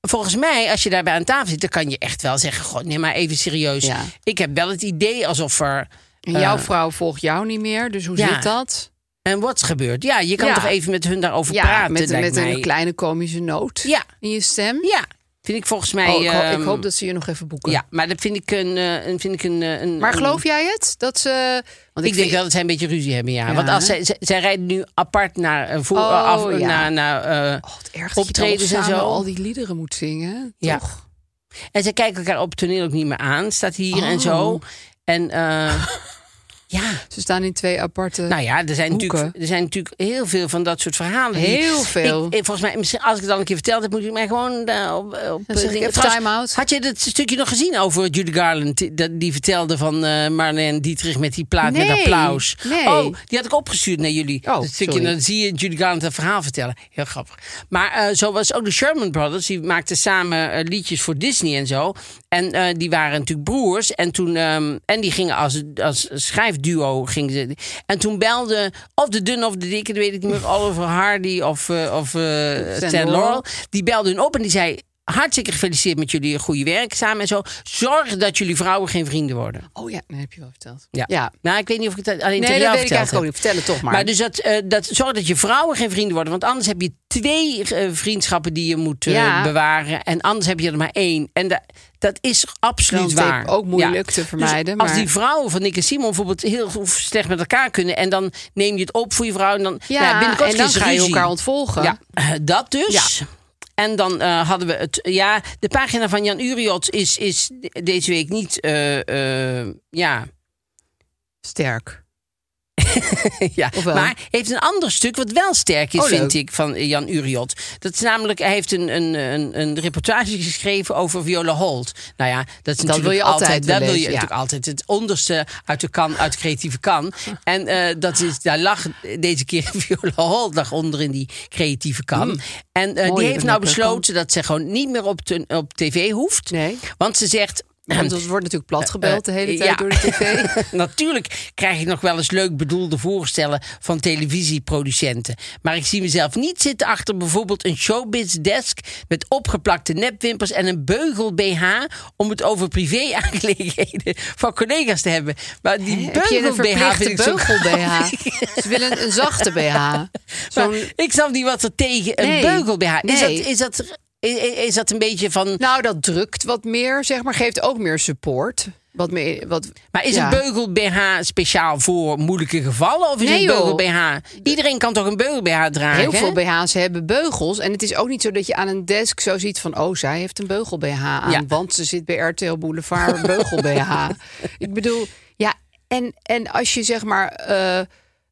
Speaker 1: volgens mij, als je daarbij aan tafel zit, dan kan je echt wel zeggen: God, nee, maar even serieus.
Speaker 3: Ja.
Speaker 1: Ik heb wel het idee alsof er.
Speaker 3: En jouw
Speaker 1: eh,
Speaker 3: vrouw volgt jou niet meer, dus hoe
Speaker 1: Ja.
Speaker 3: zit dat?
Speaker 1: en wat is gebeurd? Ja, je kan
Speaker 3: Ja.
Speaker 1: toch even met hun daarover
Speaker 3: Ja,
Speaker 1: praten.
Speaker 3: met,
Speaker 1: lijkt
Speaker 3: met een
Speaker 1: mij.
Speaker 3: kleine komische noot
Speaker 1: Ja.
Speaker 3: in je stem.
Speaker 1: Ja, vind ik volgens mij.
Speaker 3: Oh, ik, ho-
Speaker 1: ehm,
Speaker 3: ik hoop dat ze je nog even boeken.
Speaker 1: Ja, maar dat vind ik een. eh, een- vind ik een, eh, een
Speaker 3: Maar
Speaker 1: een-
Speaker 3: geloof jij het? Dat ze. Want
Speaker 1: Ik, denk
Speaker 3: vind-
Speaker 1: wel dat zij een beetje ruzie hebben, ja.
Speaker 3: Ja,
Speaker 1: Want als
Speaker 3: hè?
Speaker 1: zij, zij, zij rijden nu apart naar, eh, voor,
Speaker 3: Oh,
Speaker 1: af,
Speaker 3: ja.
Speaker 1: naar, naar eh,
Speaker 3: Oh, wat erg
Speaker 1: optredens
Speaker 3: optredens
Speaker 1: en
Speaker 3: en zo.
Speaker 1: zo.
Speaker 3: al die liederen moet zingen.
Speaker 1: Ja.
Speaker 3: Toch?
Speaker 1: En ze kijken elkaar op het toneel ook niet meer aan. Staat hier en
Speaker 3: Oh.
Speaker 1: zo. En
Speaker 3: <laughs>
Speaker 1: eh, ja,
Speaker 3: Ze staan in twee aparte.
Speaker 1: nou ja, er zijn, natuurlijk,
Speaker 3: Hoeken.
Speaker 1: er zijn natuurlijk heel veel van dat soort verhalen. die-
Speaker 3: Heel veel.
Speaker 1: Ik, ik- volgens mij, misschien als ik het dan een keer verteld heb, moet ik mij gewoon eh, op, op
Speaker 3: Dan zeg
Speaker 1: eh,
Speaker 3: ik even
Speaker 1: Trouwens,
Speaker 3: time-out.
Speaker 1: Had je dat stukje nog gezien over Judy Garland? Die, dat- die vertelde van eh Marlene Dietrich met die plaat met
Speaker 3: Nee,
Speaker 1: applaus.
Speaker 3: nee.
Speaker 1: Oh, die had ik opgestuurd naar jullie.
Speaker 3: Oh,
Speaker 1: dat stukje,
Speaker 3: sorry.
Speaker 1: dan zie je Judy Garland dat verhaal vertellen. Heel grappig. Maar eh, zo was ook de Sherman Brothers. Die maakten samen eh, liedjes voor Disney en zo. En eh, die waren natuurlijk broers. En, toen, ehm, en die gingen als, als schrijfduo. Gingen ze, en toen belde of de dunne of de dikke, dat weet ik niet meer. Oliver Hardy of, eh, of eh, Stan
Speaker 3: Laurel.
Speaker 1: Laurel. Die belde hun op en die zei... hartstikke gefeliciteerd met jullie goede werk samen en zo. Zorg dat jullie vrouwen geen vrienden worden.
Speaker 3: Oh ja, dat heb je wel verteld.
Speaker 1: Ja.
Speaker 3: ja.
Speaker 1: Nou, ik weet niet of ik dat alleen
Speaker 3: Nee, dat
Speaker 1: tegen
Speaker 3: weet ik
Speaker 1: jou
Speaker 3: eigenlijk
Speaker 1: verteld
Speaker 3: ook
Speaker 1: heb.
Speaker 3: niet. Vertel het toch maar.
Speaker 1: Maar, dus dat, eh, dat, zorg dat je vrouwen geen vrienden worden. Want anders heb je twee eh, vriendschappen die je moet eh,
Speaker 3: Ja.
Speaker 1: bewaren. En anders heb je er maar één. En da- dat is absoluut
Speaker 3: Wel een
Speaker 1: waar.
Speaker 3: tape ook moeilijk te
Speaker 1: Dus
Speaker 3: vermijden,
Speaker 1: als
Speaker 3: maar-
Speaker 1: die vrouwen van Nick en Simon bijvoorbeeld heel slecht met elkaar kunnen. En dan neem je het op voor je vrouw. En dan,
Speaker 3: ja,
Speaker 1: nou binnenkort
Speaker 3: en dan
Speaker 1: is er
Speaker 3: ga je
Speaker 1: ruzie.
Speaker 3: elkaar ontvolgen.
Speaker 1: Ja, eh, dat dus. En dan eh, hadden we het. Ja, de pagina van Jan Uriot is, is de- deze week niet. eh, eh, ja.
Speaker 3: Sterk.
Speaker 1: <laughs> ja.
Speaker 3: Of wel?
Speaker 1: Maar heeft een ander stuk wat wel sterk is,
Speaker 3: Oh, leuk.
Speaker 1: vind ik, van eh, Jan Uriot. Dat is namelijk, hij heeft een, een, een, een reportage geschreven over Viola Holt. Nou ja, dat is natuurlijk
Speaker 3: wil je altijd wel
Speaker 1: dat wil je
Speaker 3: lezen, ja.
Speaker 1: natuurlijk altijd. Het onderste uit de kan, uit de creatieve
Speaker 3: <laughs>
Speaker 1: kan. En eh, dat is, daar lag deze keer <laughs> Viola Holt lag onder in die creatieve kan. En eh,
Speaker 3: Mm. Mooie
Speaker 1: die heeft nou
Speaker 3: bemerking.
Speaker 1: besloten dat ze gewoon niet meer op, te- op tv hoeft.
Speaker 3: Nee.
Speaker 1: Want ze zegt. <clears throat>
Speaker 3: Want het wordt natuurlijk plat gebeld de hele tijd
Speaker 1: ja.
Speaker 3: door de
Speaker 1: <laughs>
Speaker 3: tv.
Speaker 1: Natuurlijk krijg ik nog wel eens leuk bedoelde voorstellen van televisieproducenten. Maar ik zie mezelf niet zitten achter bijvoorbeeld een showbiz-desk met opgeplakte nepwimpers en een beugel BH om het over privé-aangelegenheden van collega's te hebben. Maar die
Speaker 3: Heb je een
Speaker 1: beugel BH vind
Speaker 3: verplichte
Speaker 1: ik zo
Speaker 3: beugel-BH? Ze willen een, een zachte BH.
Speaker 1: <laughs> Maar
Speaker 3: Zo'n...
Speaker 1: ik snap niet wat er tegen een
Speaker 3: Nee,
Speaker 1: beugel BH. Is,
Speaker 3: nee.
Speaker 1: dat, is, dat, is dat een beetje van.
Speaker 3: Nou, dat drukt wat meer, zeg maar. Geeft ook meer support. Wat meer, wat,
Speaker 1: Maar is
Speaker 3: ja.
Speaker 1: een beugel BH speciaal voor moeilijke gevallen? Of is
Speaker 3: Nee,
Speaker 1: een
Speaker 3: joh.
Speaker 1: beugel BH? Iedereen kan toch een beugel BH dragen?
Speaker 3: Heel
Speaker 1: hè?
Speaker 3: veel BH's hebben beugels. En het is ook niet zo dat je aan een desk zo ziet van... oh, zij heeft een beugel-BH aan,
Speaker 1: Ja.
Speaker 3: want ze zit bij RTL Boulevard een
Speaker 1: <laughs>
Speaker 3: beugel-BH. Ik bedoel, ja, en, en als je zeg maar eh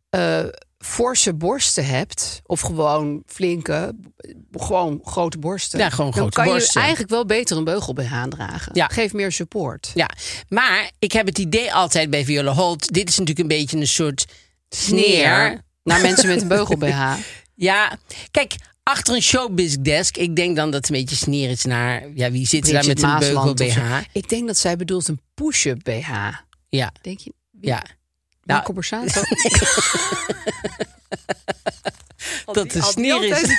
Speaker 3: eh, forse borsten hebt... of gewoon flinke, b- gewoon grote borsten...
Speaker 1: Ja, gewoon
Speaker 3: dan
Speaker 1: grote
Speaker 3: kan
Speaker 1: borsten.
Speaker 3: je eigenlijk wel beter een beugel-BH dragen.
Speaker 1: Ja.
Speaker 3: Geef meer support.
Speaker 1: Ja, maar ik heb het idee altijd bij Viola Holt. Dit is natuurlijk een beetje een soort sneer.
Speaker 3: Naar mensen met een
Speaker 1: <laughs>
Speaker 3: beugel-BH.
Speaker 1: Ja, kijk, achter een showbiz desk. Ik denk dan dat het een beetje sneer is naar. Ja, wie zit er daar met
Speaker 3: Bridget
Speaker 1: een beugel
Speaker 3: Maasland of zo.
Speaker 1: BH?
Speaker 3: Ik denk dat zij bedoelt een push-up BH.
Speaker 1: Ja,
Speaker 3: Denk je?
Speaker 1: ja.
Speaker 3: Nou,
Speaker 1: Nou, <laughs> dat de sneer is.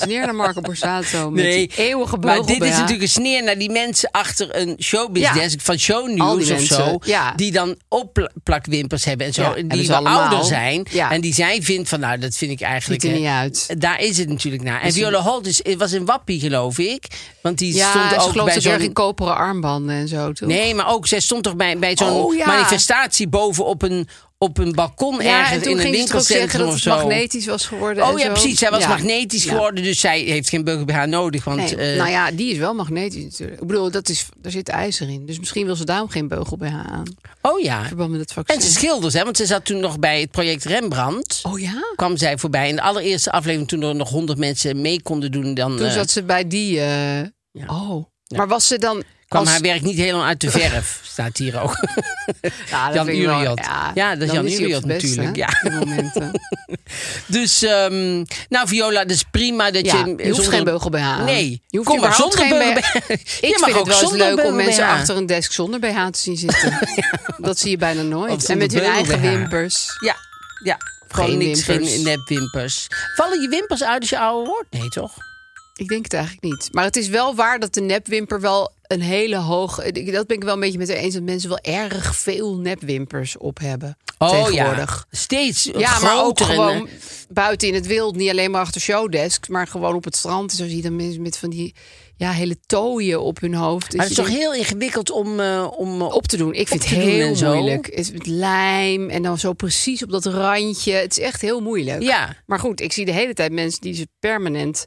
Speaker 3: Sneer naar Marco Borsato met
Speaker 1: Nee,
Speaker 3: die eeuwige beugel
Speaker 1: Maar dit is
Speaker 3: BH.
Speaker 1: natuurlijk een sneer naar die mensen achter een showbiz
Speaker 3: Ja.
Speaker 1: desk van
Speaker 3: Al die
Speaker 1: shownieuws of
Speaker 3: mensen,
Speaker 1: zo.
Speaker 3: ja.
Speaker 1: Die dan opplakwimpers hebben en zo.
Speaker 3: Ja,
Speaker 1: en
Speaker 3: hebben
Speaker 1: die
Speaker 3: ze
Speaker 1: wel
Speaker 3: allemaal.
Speaker 1: ouder zijn.
Speaker 3: Ja.
Speaker 1: En die zij vindt van nou, dat vind ik eigenlijk...
Speaker 3: Ziet er
Speaker 1: eh,
Speaker 3: niet uit.
Speaker 1: Daar is het natuurlijk naar. En Viola Holt is, was in Wappie, geloof ik. Want die
Speaker 3: Dus Ja,
Speaker 1: stond
Speaker 3: ze
Speaker 1: ook bij
Speaker 3: gelooft ook erg
Speaker 1: zo'n...
Speaker 3: in koperen armbanden en zo, toch?
Speaker 1: Nee, maar ook, zij stond toch bij, bij zo'n
Speaker 3: Oh, ja.
Speaker 1: manifestatie boven op een, op een balkon
Speaker 3: ja, en
Speaker 1: ergens in
Speaker 3: toen
Speaker 1: een
Speaker 3: ging ze toch zeggen
Speaker 1: winkelcentrum
Speaker 3: dat
Speaker 1: of
Speaker 3: het
Speaker 1: zo.
Speaker 3: magnetisch was geworden
Speaker 1: Oh
Speaker 3: en
Speaker 1: ja,
Speaker 3: zo.
Speaker 1: precies. Zij was
Speaker 3: Ja.
Speaker 1: magnetisch
Speaker 3: Ja.
Speaker 1: geworden, dus zij heeft geen beugel bij haar nodig. Want,
Speaker 3: Nee,
Speaker 1: eh,
Speaker 3: nou ja, die is wel magnetisch natuurlijk. Ik bedoel, dat is, daar zit ijzer in. Dus misschien wil ze daarom geen beugel bij haar aan. In
Speaker 1: Oh ja.
Speaker 3: verband met het vaccin.
Speaker 1: En ze schilders, hè? Want ze zat toen nog bij het project Rembrandt.
Speaker 3: oh ja?
Speaker 1: Kwam zij voorbij in de allereerste aflevering toen er nog honderd mensen mee konden doen. Dan
Speaker 3: Toen
Speaker 1: eh,
Speaker 3: zat ze bij die... eh, Oh. Maar was ze dan...
Speaker 1: kwam
Speaker 3: als-
Speaker 1: haar werk niet helemaal uit de verf. Staat hier ook.
Speaker 3: Ja, dat
Speaker 1: Jan
Speaker 3: vind ik wel-
Speaker 1: Uriot. Ja, dat is
Speaker 3: dan
Speaker 1: Jan
Speaker 3: hij op
Speaker 1: Uriot
Speaker 3: zijn best,
Speaker 1: natuurlijk, <laughs>
Speaker 3: hè,
Speaker 1: ja.
Speaker 3: op die momenten.
Speaker 1: Dus, ehm, nou Viola, dat is prima dat
Speaker 3: Ja,
Speaker 1: je...
Speaker 3: je hoeft geen beugel bij haar.
Speaker 1: Nee,
Speaker 3: Je hoeft
Speaker 1: kom maar
Speaker 3: überhaupt
Speaker 1: zonder
Speaker 3: geen
Speaker 1: beugel
Speaker 3: BH. <laughs>
Speaker 1: bij
Speaker 3: Ik vind het wel eens leuk om mensen achter een desk zonder BH te zien
Speaker 1: <laughs>
Speaker 3: zitten. Dat zie je bijna
Speaker 1: Of
Speaker 3: nooit. En
Speaker 1: zonder
Speaker 3: met hun
Speaker 1: beugel
Speaker 3: eigen
Speaker 1: BH.
Speaker 3: wimpers.
Speaker 1: Ja, ja. Gewoon niks,
Speaker 3: wimpers.
Speaker 1: geen nepwimpers. Vallen je wimpers uit als je ouder wordt? Nee, toch?
Speaker 3: Ik denk het eigenlijk niet. Maar het is wel waar dat de nepwimper wel een hele hoog... Dat ben ik wel een beetje met haar eens. Dat mensen wel erg veel nepwimpers op hebben tegenwoordig.
Speaker 1: Oh ja, steeds
Speaker 3: Oh, Ja, maar ook
Speaker 1: groter en,
Speaker 3: gewoon
Speaker 1: eh,
Speaker 3: buiten in het wild. Niet alleen maar achter showdesks, maar gewoon op het strand. Zo zie je dan mensen met van die ja, hele tooien op hun hoofd.
Speaker 1: maar het
Speaker 3: Dat je
Speaker 1: is toch
Speaker 3: denkt,
Speaker 1: heel ingewikkeld om, eh, om eh,
Speaker 3: op te doen. Ik vind
Speaker 1: op
Speaker 3: het
Speaker 1: te doen
Speaker 3: heel
Speaker 1: en zo.
Speaker 3: moeilijk. Het is met lijm en dan zo precies op dat randje. Het is echt heel moeilijk.
Speaker 1: Ja.
Speaker 3: Maar goed, ik zie de hele tijd mensen die ze permanent...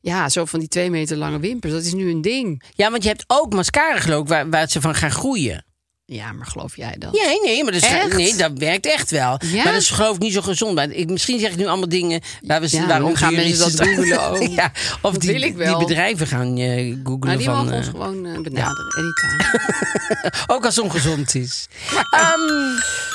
Speaker 3: Ja, zo van die twee meter lange wimpers. Dat is nu een ding.
Speaker 1: Ja, want je hebt ook mascara geloof ik, waar, waar ze van gaan groeien.
Speaker 3: Ja, maar geloof jij dat?
Speaker 1: Nee, nee, maar dat, is-
Speaker 3: Echt?
Speaker 1: nee, dat werkt echt wel.
Speaker 3: Ja?
Speaker 1: Maar dat is geloof ik niet zo gezond. Maar ik, misschien zeg ik nu allemaal dingen waar we,
Speaker 3: Ja,
Speaker 1: waarom
Speaker 3: dan gaan
Speaker 1: juristen
Speaker 3: mensen dat
Speaker 1: dan- <laughs>
Speaker 3: googlen ook.
Speaker 1: ja, of
Speaker 3: Dat
Speaker 1: die,
Speaker 3: wil ik wel.
Speaker 1: die bedrijven gaan eh, googlen.
Speaker 3: Nou, die
Speaker 1: van,
Speaker 3: mogen ons
Speaker 1: eh,
Speaker 3: gewoon eh, benaderen.
Speaker 1: <laughs>
Speaker 3: Anytime.
Speaker 1: ook als het ongezond is. <laughs> Ehm,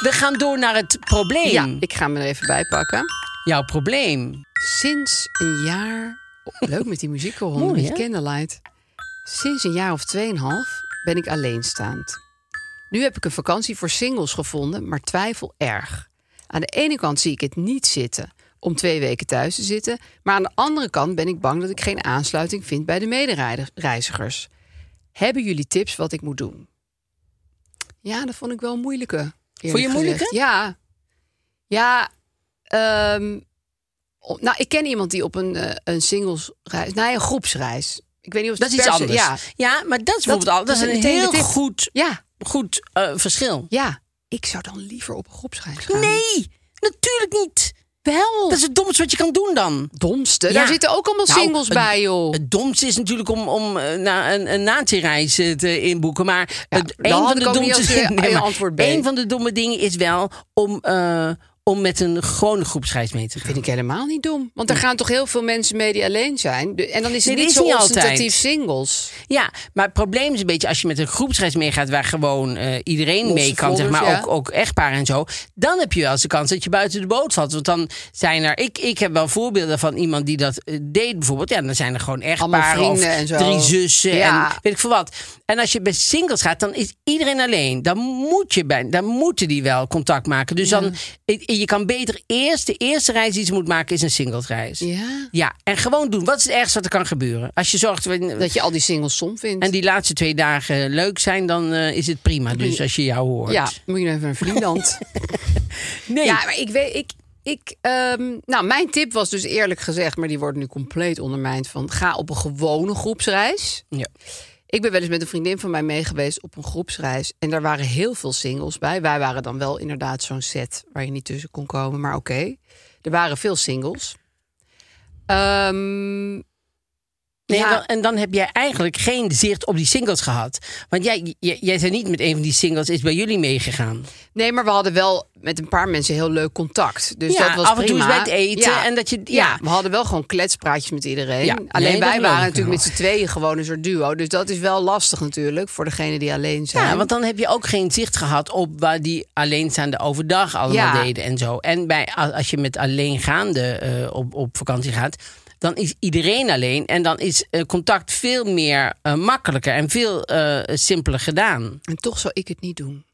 Speaker 1: we gaan door naar het probleem.
Speaker 3: Ja, ik ga me er even bij pakken.
Speaker 1: Jouw probleem.
Speaker 3: sinds een jaar. Oh, Leuk met die muziekwolhonden,
Speaker 1: Mooi,
Speaker 3: met die
Speaker 1: hè?
Speaker 3: candlelight. Sinds een jaar of tweeënhalf ben ik alleenstaand. Nu heb ik een vakantie voor singles gevonden, maar twijfel erg. Aan de ene kant zie ik het niet zitten om twee weken thuis te zitten. Maar aan de andere kant ben ik bang dat ik geen aansluiting vind bij de medereizigers. Hebben jullie tips wat ik moet doen? Ja, dat vond ik wel een moeilijke. eerlijk
Speaker 1: Vond je een
Speaker 3: gezegd.
Speaker 1: moeilijke?
Speaker 3: Ja. Ja. ehm, om- nou, ik ken iemand die op een, eh, een singlesreis... Nee, een groepsreis. Ik weet niet of het
Speaker 1: Dat is iets
Speaker 3: per se-
Speaker 1: anders.
Speaker 3: Ja,
Speaker 1: maar dat is bijvoorbeeld al. Dat is
Speaker 3: dat is
Speaker 1: een
Speaker 3: meteen de
Speaker 1: heel
Speaker 3: tip.
Speaker 1: goed,
Speaker 3: ja,
Speaker 1: goed eh, verschil.
Speaker 3: ja. Ik zou dan liever op een groepsreis gaan.
Speaker 1: Nee, natuurlijk niet.
Speaker 3: wel.
Speaker 1: Dat is het domste wat je kan doen dan.
Speaker 3: domste.
Speaker 1: Ja.
Speaker 3: Daar zitten ook allemaal
Speaker 1: Nou,
Speaker 3: singles
Speaker 1: het-
Speaker 3: bij, joh.
Speaker 1: Het domste is natuurlijk om, om eh, na een, een natiereis eh, te inboeken. Maar
Speaker 3: Ja,
Speaker 1: het, een,
Speaker 3: dan had
Speaker 1: van de
Speaker 3: ik ook niet
Speaker 1: domste,
Speaker 3: als
Speaker 1: <laughs>
Speaker 3: je-
Speaker 1: Nee,
Speaker 3: je
Speaker 1: maar
Speaker 3: antwoord B.
Speaker 1: een van de domme dingen is wel om, eh, om met een gewone groepsreis mee te gaan.
Speaker 3: Vind ik helemaal niet dom. Want er gaan toch heel veel mensen mee die alleen zijn. De- En dan is het
Speaker 1: Nee, dat
Speaker 3: niet
Speaker 1: is
Speaker 3: zo
Speaker 1: niet altijd.
Speaker 3: ostentatief singles.
Speaker 1: Ja, maar het probleem is een beetje als je met een groepsreis meegaat waar gewoon eh, iedereen
Speaker 3: Losse
Speaker 1: mee kan, zeg maar
Speaker 3: vlodders,
Speaker 1: ook,
Speaker 3: ja.
Speaker 1: ook echtparen en zo. Dan heb je wel eens de kans dat je buiten de boot valt. Want dan zijn er, ik, ik heb wel voorbeelden van iemand die dat eh, deed bijvoorbeeld. Ja, dan zijn er gewoon echtparen of
Speaker 3: vrienden en zo.
Speaker 1: drie zussen
Speaker 3: Ja.
Speaker 1: en weet ik veel wat. En als je bij singles gaat, dan is iedereen alleen. Dan moet je bij, dan moeten die wel contact maken. Dus dan, je je kan beter eerst, de eerste reis die ze moet maken is een singlesreis.
Speaker 3: Ja.
Speaker 1: Ja, en gewoon doen. Wat is het ergste wat er kan gebeuren? Als je zorgt...
Speaker 3: Dat je al die singles som vindt.
Speaker 1: En die laatste twee dagen leuk zijn, dan eh, is het prima. Dus als je jou hoort.
Speaker 3: ja, moet je nou even naar
Speaker 1: <laughs>
Speaker 3: Vlieland.
Speaker 1: nee.
Speaker 3: Ja, maar ik weet, ik, ik, ehm, nou, mijn tip was dus eerlijk gezegd, maar die wordt nu compleet ondermijnd van ga op een gewone groepsreis.
Speaker 1: Ja.
Speaker 3: Ik ben wel eens met een vriendin van mij meegeweest op een groepsreis en daar waren heel veel singles bij. Wij waren dan wel inderdaad zo'n set waar je niet tussen kon komen, maar oké, er waren veel singles. Ehm,
Speaker 1: Nee,
Speaker 3: ja.
Speaker 1: dan- en dan heb jij eigenlijk geen zicht op die singles gehad. Want jij, jij, jij bent niet met een van die singles, is bij jullie meegegaan.
Speaker 3: Nee, maar we hadden wel met een paar mensen heel leuk contact. Dus
Speaker 1: Ja,
Speaker 3: dat was
Speaker 1: af en toe
Speaker 3: prima.
Speaker 1: eens bij het eten en dat je- ja.
Speaker 3: ja. we hadden wel gewoon kletspraatjes met iedereen.
Speaker 1: Ja,
Speaker 3: Alleen
Speaker 1: nee, dat
Speaker 3: wij
Speaker 1: geloof
Speaker 3: waren
Speaker 1: ik
Speaker 3: natuurlijk met
Speaker 1: wel.
Speaker 3: z'n tweeën gewoon een soort duo. Dus dat is wel lastig natuurlijk voor degene die alleen zijn.
Speaker 1: Ja, want dan heb je ook geen zicht gehad op waar die alleenstaande overdag allemaal
Speaker 3: Ja.
Speaker 1: deden en zo. En bij, a- als je met alleengaande eh op, op vakantie gaat, dan is iedereen alleen. En dan is eh, contact veel meer eh, makkelijker en veel eh, simpeler gedaan.
Speaker 3: En toch zou ik het niet doen.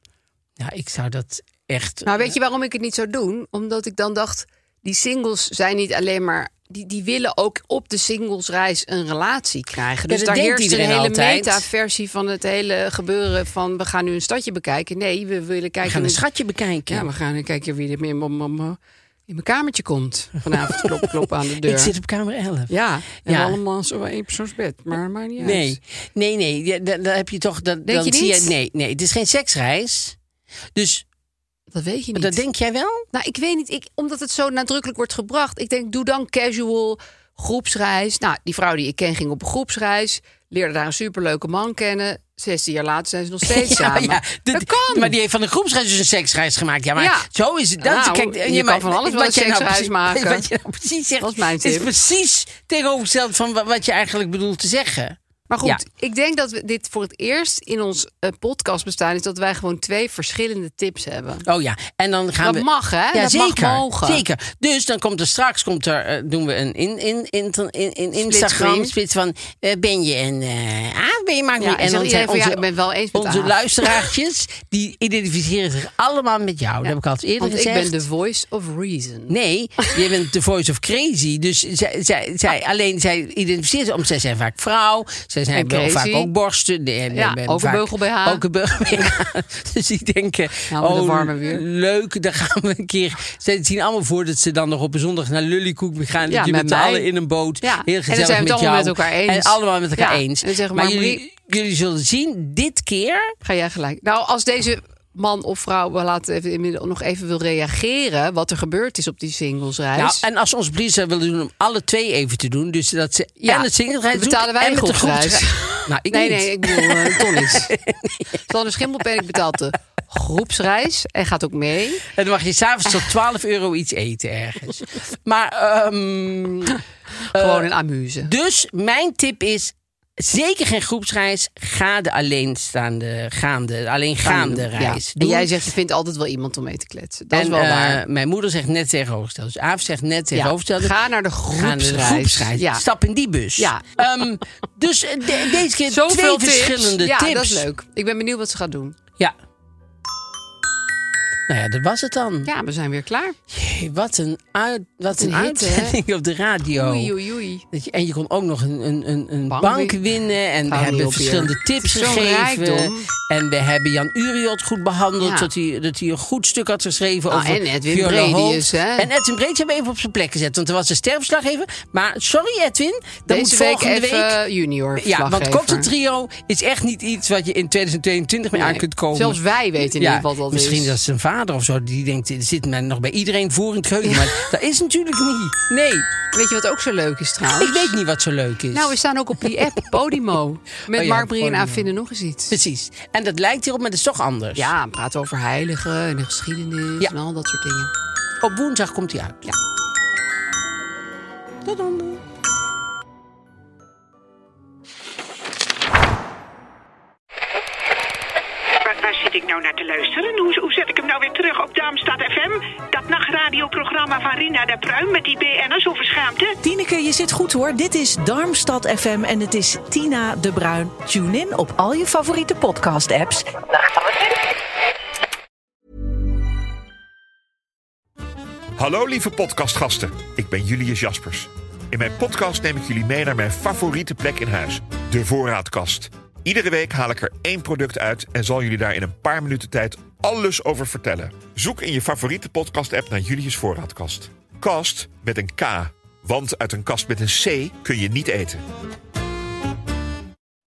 Speaker 1: Ja, ik zou dat echt...
Speaker 3: Maar weet je waarom ik het niet zou doen? Omdat ik dan dacht, die singles zijn niet alleen maar... Die, die willen ook op de singlesreis een relatie krijgen.
Speaker 1: Ja, dat
Speaker 3: Dus daar
Speaker 1: denkt
Speaker 3: heerst een
Speaker 1: iedereen
Speaker 3: hele
Speaker 1: altijd.
Speaker 3: meta-versie van het hele gebeuren van... we gaan nu een stadje bekijken. Nee, we willen kijken...
Speaker 1: We gaan een
Speaker 3: hoe-
Speaker 1: schatje bekijken.
Speaker 3: Ja, we gaan nu kijken wie er meer m- m- m- in mijn kamertje komt. Vanavond klop, klop <laughs> aan de deur.
Speaker 1: Ik zit op kamer 11.
Speaker 3: Ja, en
Speaker 1: Ja.
Speaker 3: allemaal zo één persoonsbed. Maar maar niet
Speaker 1: Nee,
Speaker 3: uit.
Speaker 1: nee, nee. Ja, dan, dan heb je toch. Dat,
Speaker 3: Denk
Speaker 1: dan
Speaker 3: je
Speaker 1: zie
Speaker 3: niet?
Speaker 1: nee, nee, het is geen seksreis. Dus
Speaker 3: Dat weet je niet.
Speaker 1: dat denk jij wel?
Speaker 3: Nou, ik weet niet. Ik, omdat het zo nadrukkelijk wordt gebracht. Ik denk, doe dan casual, groepsreis. Nou, die vrouw die ik ken ging op een groepsreis. Leerde daar een superleuke man kennen. 16 jaar later zijn ze nog steeds
Speaker 1: <laughs>
Speaker 3: samen.
Speaker 1: ja, dit-
Speaker 3: dat kan.
Speaker 1: Maar die heeft van een groepsreis dus een seksreis gemaakt. Ja, maar
Speaker 3: Ja.
Speaker 1: zo is het. Dat,
Speaker 3: Nou,
Speaker 1: kijk,
Speaker 3: je
Speaker 1: eh,
Speaker 3: kan
Speaker 1: maar
Speaker 3: van alles wel
Speaker 1: wat
Speaker 3: een
Speaker 1: jij nou
Speaker 3: seksreis
Speaker 1: precies-
Speaker 3: maken.
Speaker 1: Wat je nou precies zegt.
Speaker 3: Dat is mijn
Speaker 1: is
Speaker 3: tip.
Speaker 1: precies tegenovergesteld van wa- wat je eigenlijk bedoelt te zeggen.
Speaker 3: Maar goed,
Speaker 1: Ja.
Speaker 3: ik denk dat we dit voor het eerst in ons eh, podcast bestaan is dat wij gewoon twee verschillende tips hebben.
Speaker 1: Oh ja, en dan gaan
Speaker 3: Dat
Speaker 1: we.
Speaker 3: mag, hè?
Speaker 1: Ja,
Speaker 3: dat
Speaker 1: zeker.
Speaker 3: mag mogen.
Speaker 1: Zeker. Dus dan komt er straks komt er, eh, doen we een in, in, in, in, in Instagram
Speaker 3: screen.
Speaker 1: split van eh, ben je een eh A of ben je maar
Speaker 3: Ja, en
Speaker 1: en
Speaker 3: dan
Speaker 1: dan
Speaker 3: iedereen
Speaker 1: zijn
Speaker 3: van, ja,
Speaker 1: onze,
Speaker 3: ik ben wel eens met
Speaker 1: onze
Speaker 3: Aaf.
Speaker 1: luisteraartjes die identificeren zich allemaal met jou. Oh, Dat heb ik al eerder
Speaker 3: Want ik
Speaker 1: gezegd.
Speaker 3: ben de voice of reason.
Speaker 1: Nee, je bent de voice of crazy. Dus zij, zij, zij,
Speaker 3: Ah.
Speaker 1: alleen zij identificeert zich, omdat zij zijn vaak vrouw. Zij zijn
Speaker 3: En
Speaker 1: wel
Speaker 3: crazy.
Speaker 1: vaak ook borsten. Nee, en-
Speaker 3: Ja,
Speaker 1: en- en
Speaker 3: ook een
Speaker 1: vaak-
Speaker 3: beugel-BH.
Speaker 1: Ook een beugel-BH. <laughs> Dus die denken,
Speaker 3: Nou, met de
Speaker 1: oh,
Speaker 3: warme weer.
Speaker 1: leuk, dan gaan we een keer... Zij zien allemaal voor dat ze dan nog op een zondag naar Lullykoek gaan.
Speaker 3: Ja,
Speaker 1: Ja,
Speaker 3: met
Speaker 1: met
Speaker 3: mij.
Speaker 1: allen in een boot.
Speaker 3: Ja, en
Speaker 1: Heel
Speaker 3: dan
Speaker 1: gezellig
Speaker 3: zijn we het
Speaker 1: met
Speaker 3: allemaal
Speaker 1: jou.
Speaker 3: met elkaar eens.
Speaker 1: En allemaal met elkaar
Speaker 3: Ja,
Speaker 1: eens.
Speaker 3: en zeggen,
Speaker 1: maar
Speaker 3: maar
Speaker 1: jullie,
Speaker 3: Brie-
Speaker 1: jullie zullen zien, dit keer...
Speaker 3: Ga jij gelijk. Nou, als deze man of vrouw, we laten even inmiddels nog even wil reageren wat er gebeurd is op die
Speaker 1: Nou,
Speaker 3: singlesreis.
Speaker 1: en als ze ons Blizzard willen doen om alle twee even te doen, dus dat ze
Speaker 3: Ja,
Speaker 1: en het singlereis
Speaker 3: dan betalen wij
Speaker 1: en met de
Speaker 3: een groepsreis.
Speaker 1: groepsreis. <laughs> Nou, ik
Speaker 3: nee,
Speaker 1: niet.
Speaker 3: nee, ik bedoel
Speaker 1: <laughs>
Speaker 3: uh, Tonnies. Sander Schimmelpenning betaalt de groepsreis en gaat ook mee.
Speaker 1: En dan mag je s'avonds
Speaker 3: Ah.
Speaker 1: tot 12 euro iets eten ergens. Maar ehm,
Speaker 3: Gewoon een amuse.
Speaker 1: dus mijn tip is zeker geen groepsreis. Ga de alleenstaande, gaande, alleengaande
Speaker 3: Ja.
Speaker 1: reis.
Speaker 3: En
Speaker 1: doen.
Speaker 3: jij zegt, je vindt altijd wel iemand om mee te kletsen. Dat is
Speaker 1: En,
Speaker 3: wel
Speaker 1: eh,
Speaker 3: waar.
Speaker 1: Mijn moeder zegt net tegenovergesteld. Dus Aaf zegt net
Speaker 3: Ja.
Speaker 1: tegenovergesteld.
Speaker 3: Ga naar de
Speaker 1: Gaan
Speaker 3: groepsreis.
Speaker 1: we de groepsreis.
Speaker 3: Ja.
Speaker 1: Stap in die bus.
Speaker 3: Ja.
Speaker 1: Ehm, dus eh, de- deze keer twee
Speaker 3: Zoveel tips.
Speaker 1: verschillende tips.
Speaker 3: Ja, dat is leuk. Ik ben benieuwd wat ze gaat doen.
Speaker 1: Ja. Nou ja, dat was het dan.
Speaker 3: Ja, we zijn weer klaar.
Speaker 1: Jee, wat een, uit, wat een,
Speaker 3: een hitte, hè?
Speaker 1: uitzending op de radio.
Speaker 3: Oei, oei, oei.
Speaker 1: Dat je, en je kon ook nog een, een, een, een bank,
Speaker 3: Bank wi-
Speaker 1: winnen. En we
Speaker 3: Hou
Speaker 1: hebben
Speaker 3: op,
Speaker 1: verschillende
Speaker 3: Jur.
Speaker 1: tips
Speaker 3: Het is zo'n
Speaker 1: gegeven.
Speaker 3: rijkdom.
Speaker 1: En we hebben Jan Uriot goed behandeld.
Speaker 3: Ja.
Speaker 1: Dat, hij, dat hij een goed stuk had geschreven
Speaker 3: Nou,
Speaker 1: over
Speaker 3: en Edwin
Speaker 1: Viola
Speaker 3: Bredius,
Speaker 1: Holt.
Speaker 3: hè?
Speaker 1: En Edwin Breedjes hebben we even op zijn plek gezet. Want er was een sterfverslaggever. Maar sorry Edwin, dat
Speaker 3: Deze
Speaker 1: moet
Speaker 3: week
Speaker 1: volgende
Speaker 3: even
Speaker 1: week...
Speaker 3: junior
Speaker 1: Ja, want
Speaker 3: verslaggever.
Speaker 1: cocktail trio is echt niet iets wat je in 2022 mee aan
Speaker 3: Nee,
Speaker 1: kunt komen.
Speaker 3: Zelfs wij weten niet wat dat
Speaker 1: misschien
Speaker 3: is.
Speaker 1: dat zijn vader of zo, die denkt, er zit men nog bij iedereen voor in het geheugen. Maar dat is natuurlijk niet. Nee,
Speaker 3: Weet je wat ook zo leuk is trouwens?
Speaker 1: ik weet niet wat zo leuk is.
Speaker 3: Nou, we staan ook op die
Speaker 1: <laughs>
Speaker 3: app Podimo. Met
Speaker 1: Oh ja,
Speaker 3: Mark Brie en
Speaker 1: Podimo.
Speaker 3: Aanvinden nog eens iets.
Speaker 1: Precies. En dat lijkt hierop, maar dat is toch anders.
Speaker 3: Ja, en praten over heiligen en de geschiedenis
Speaker 1: Ja.
Speaker 3: en al dat soort dingen.
Speaker 1: Op woensdag komt hij uit.
Speaker 3: Ja.
Speaker 1: Tot dan.
Speaker 4: Waar, waar zit ik nou naar te luisteren? Hoe, hoe zet ik hem nou weer terug op Darmstad FM? Dat nachtradioprogramma van Rina de Pruim met die BN'ers over schaamte?
Speaker 5: Tineke, je zit goed hoor. Dit is Darmstad FM en het is Tina de Bruin. Tune in op al je favoriete podcast-apps.
Speaker 6: Hallo lieve podcastgasten, ik ben Julius Jaspers. In mijn podcast neem ik jullie mee naar mijn favoriete plek in huis, de voorraadkast. Iedere week haal ik er één product uit en zal jullie daar in een paar minuten tijd alles over vertellen. Zoek in je favoriete podcast-app naar Julius Voorraadkast. Kast met een K, want uit een kast met een C kun je niet eten.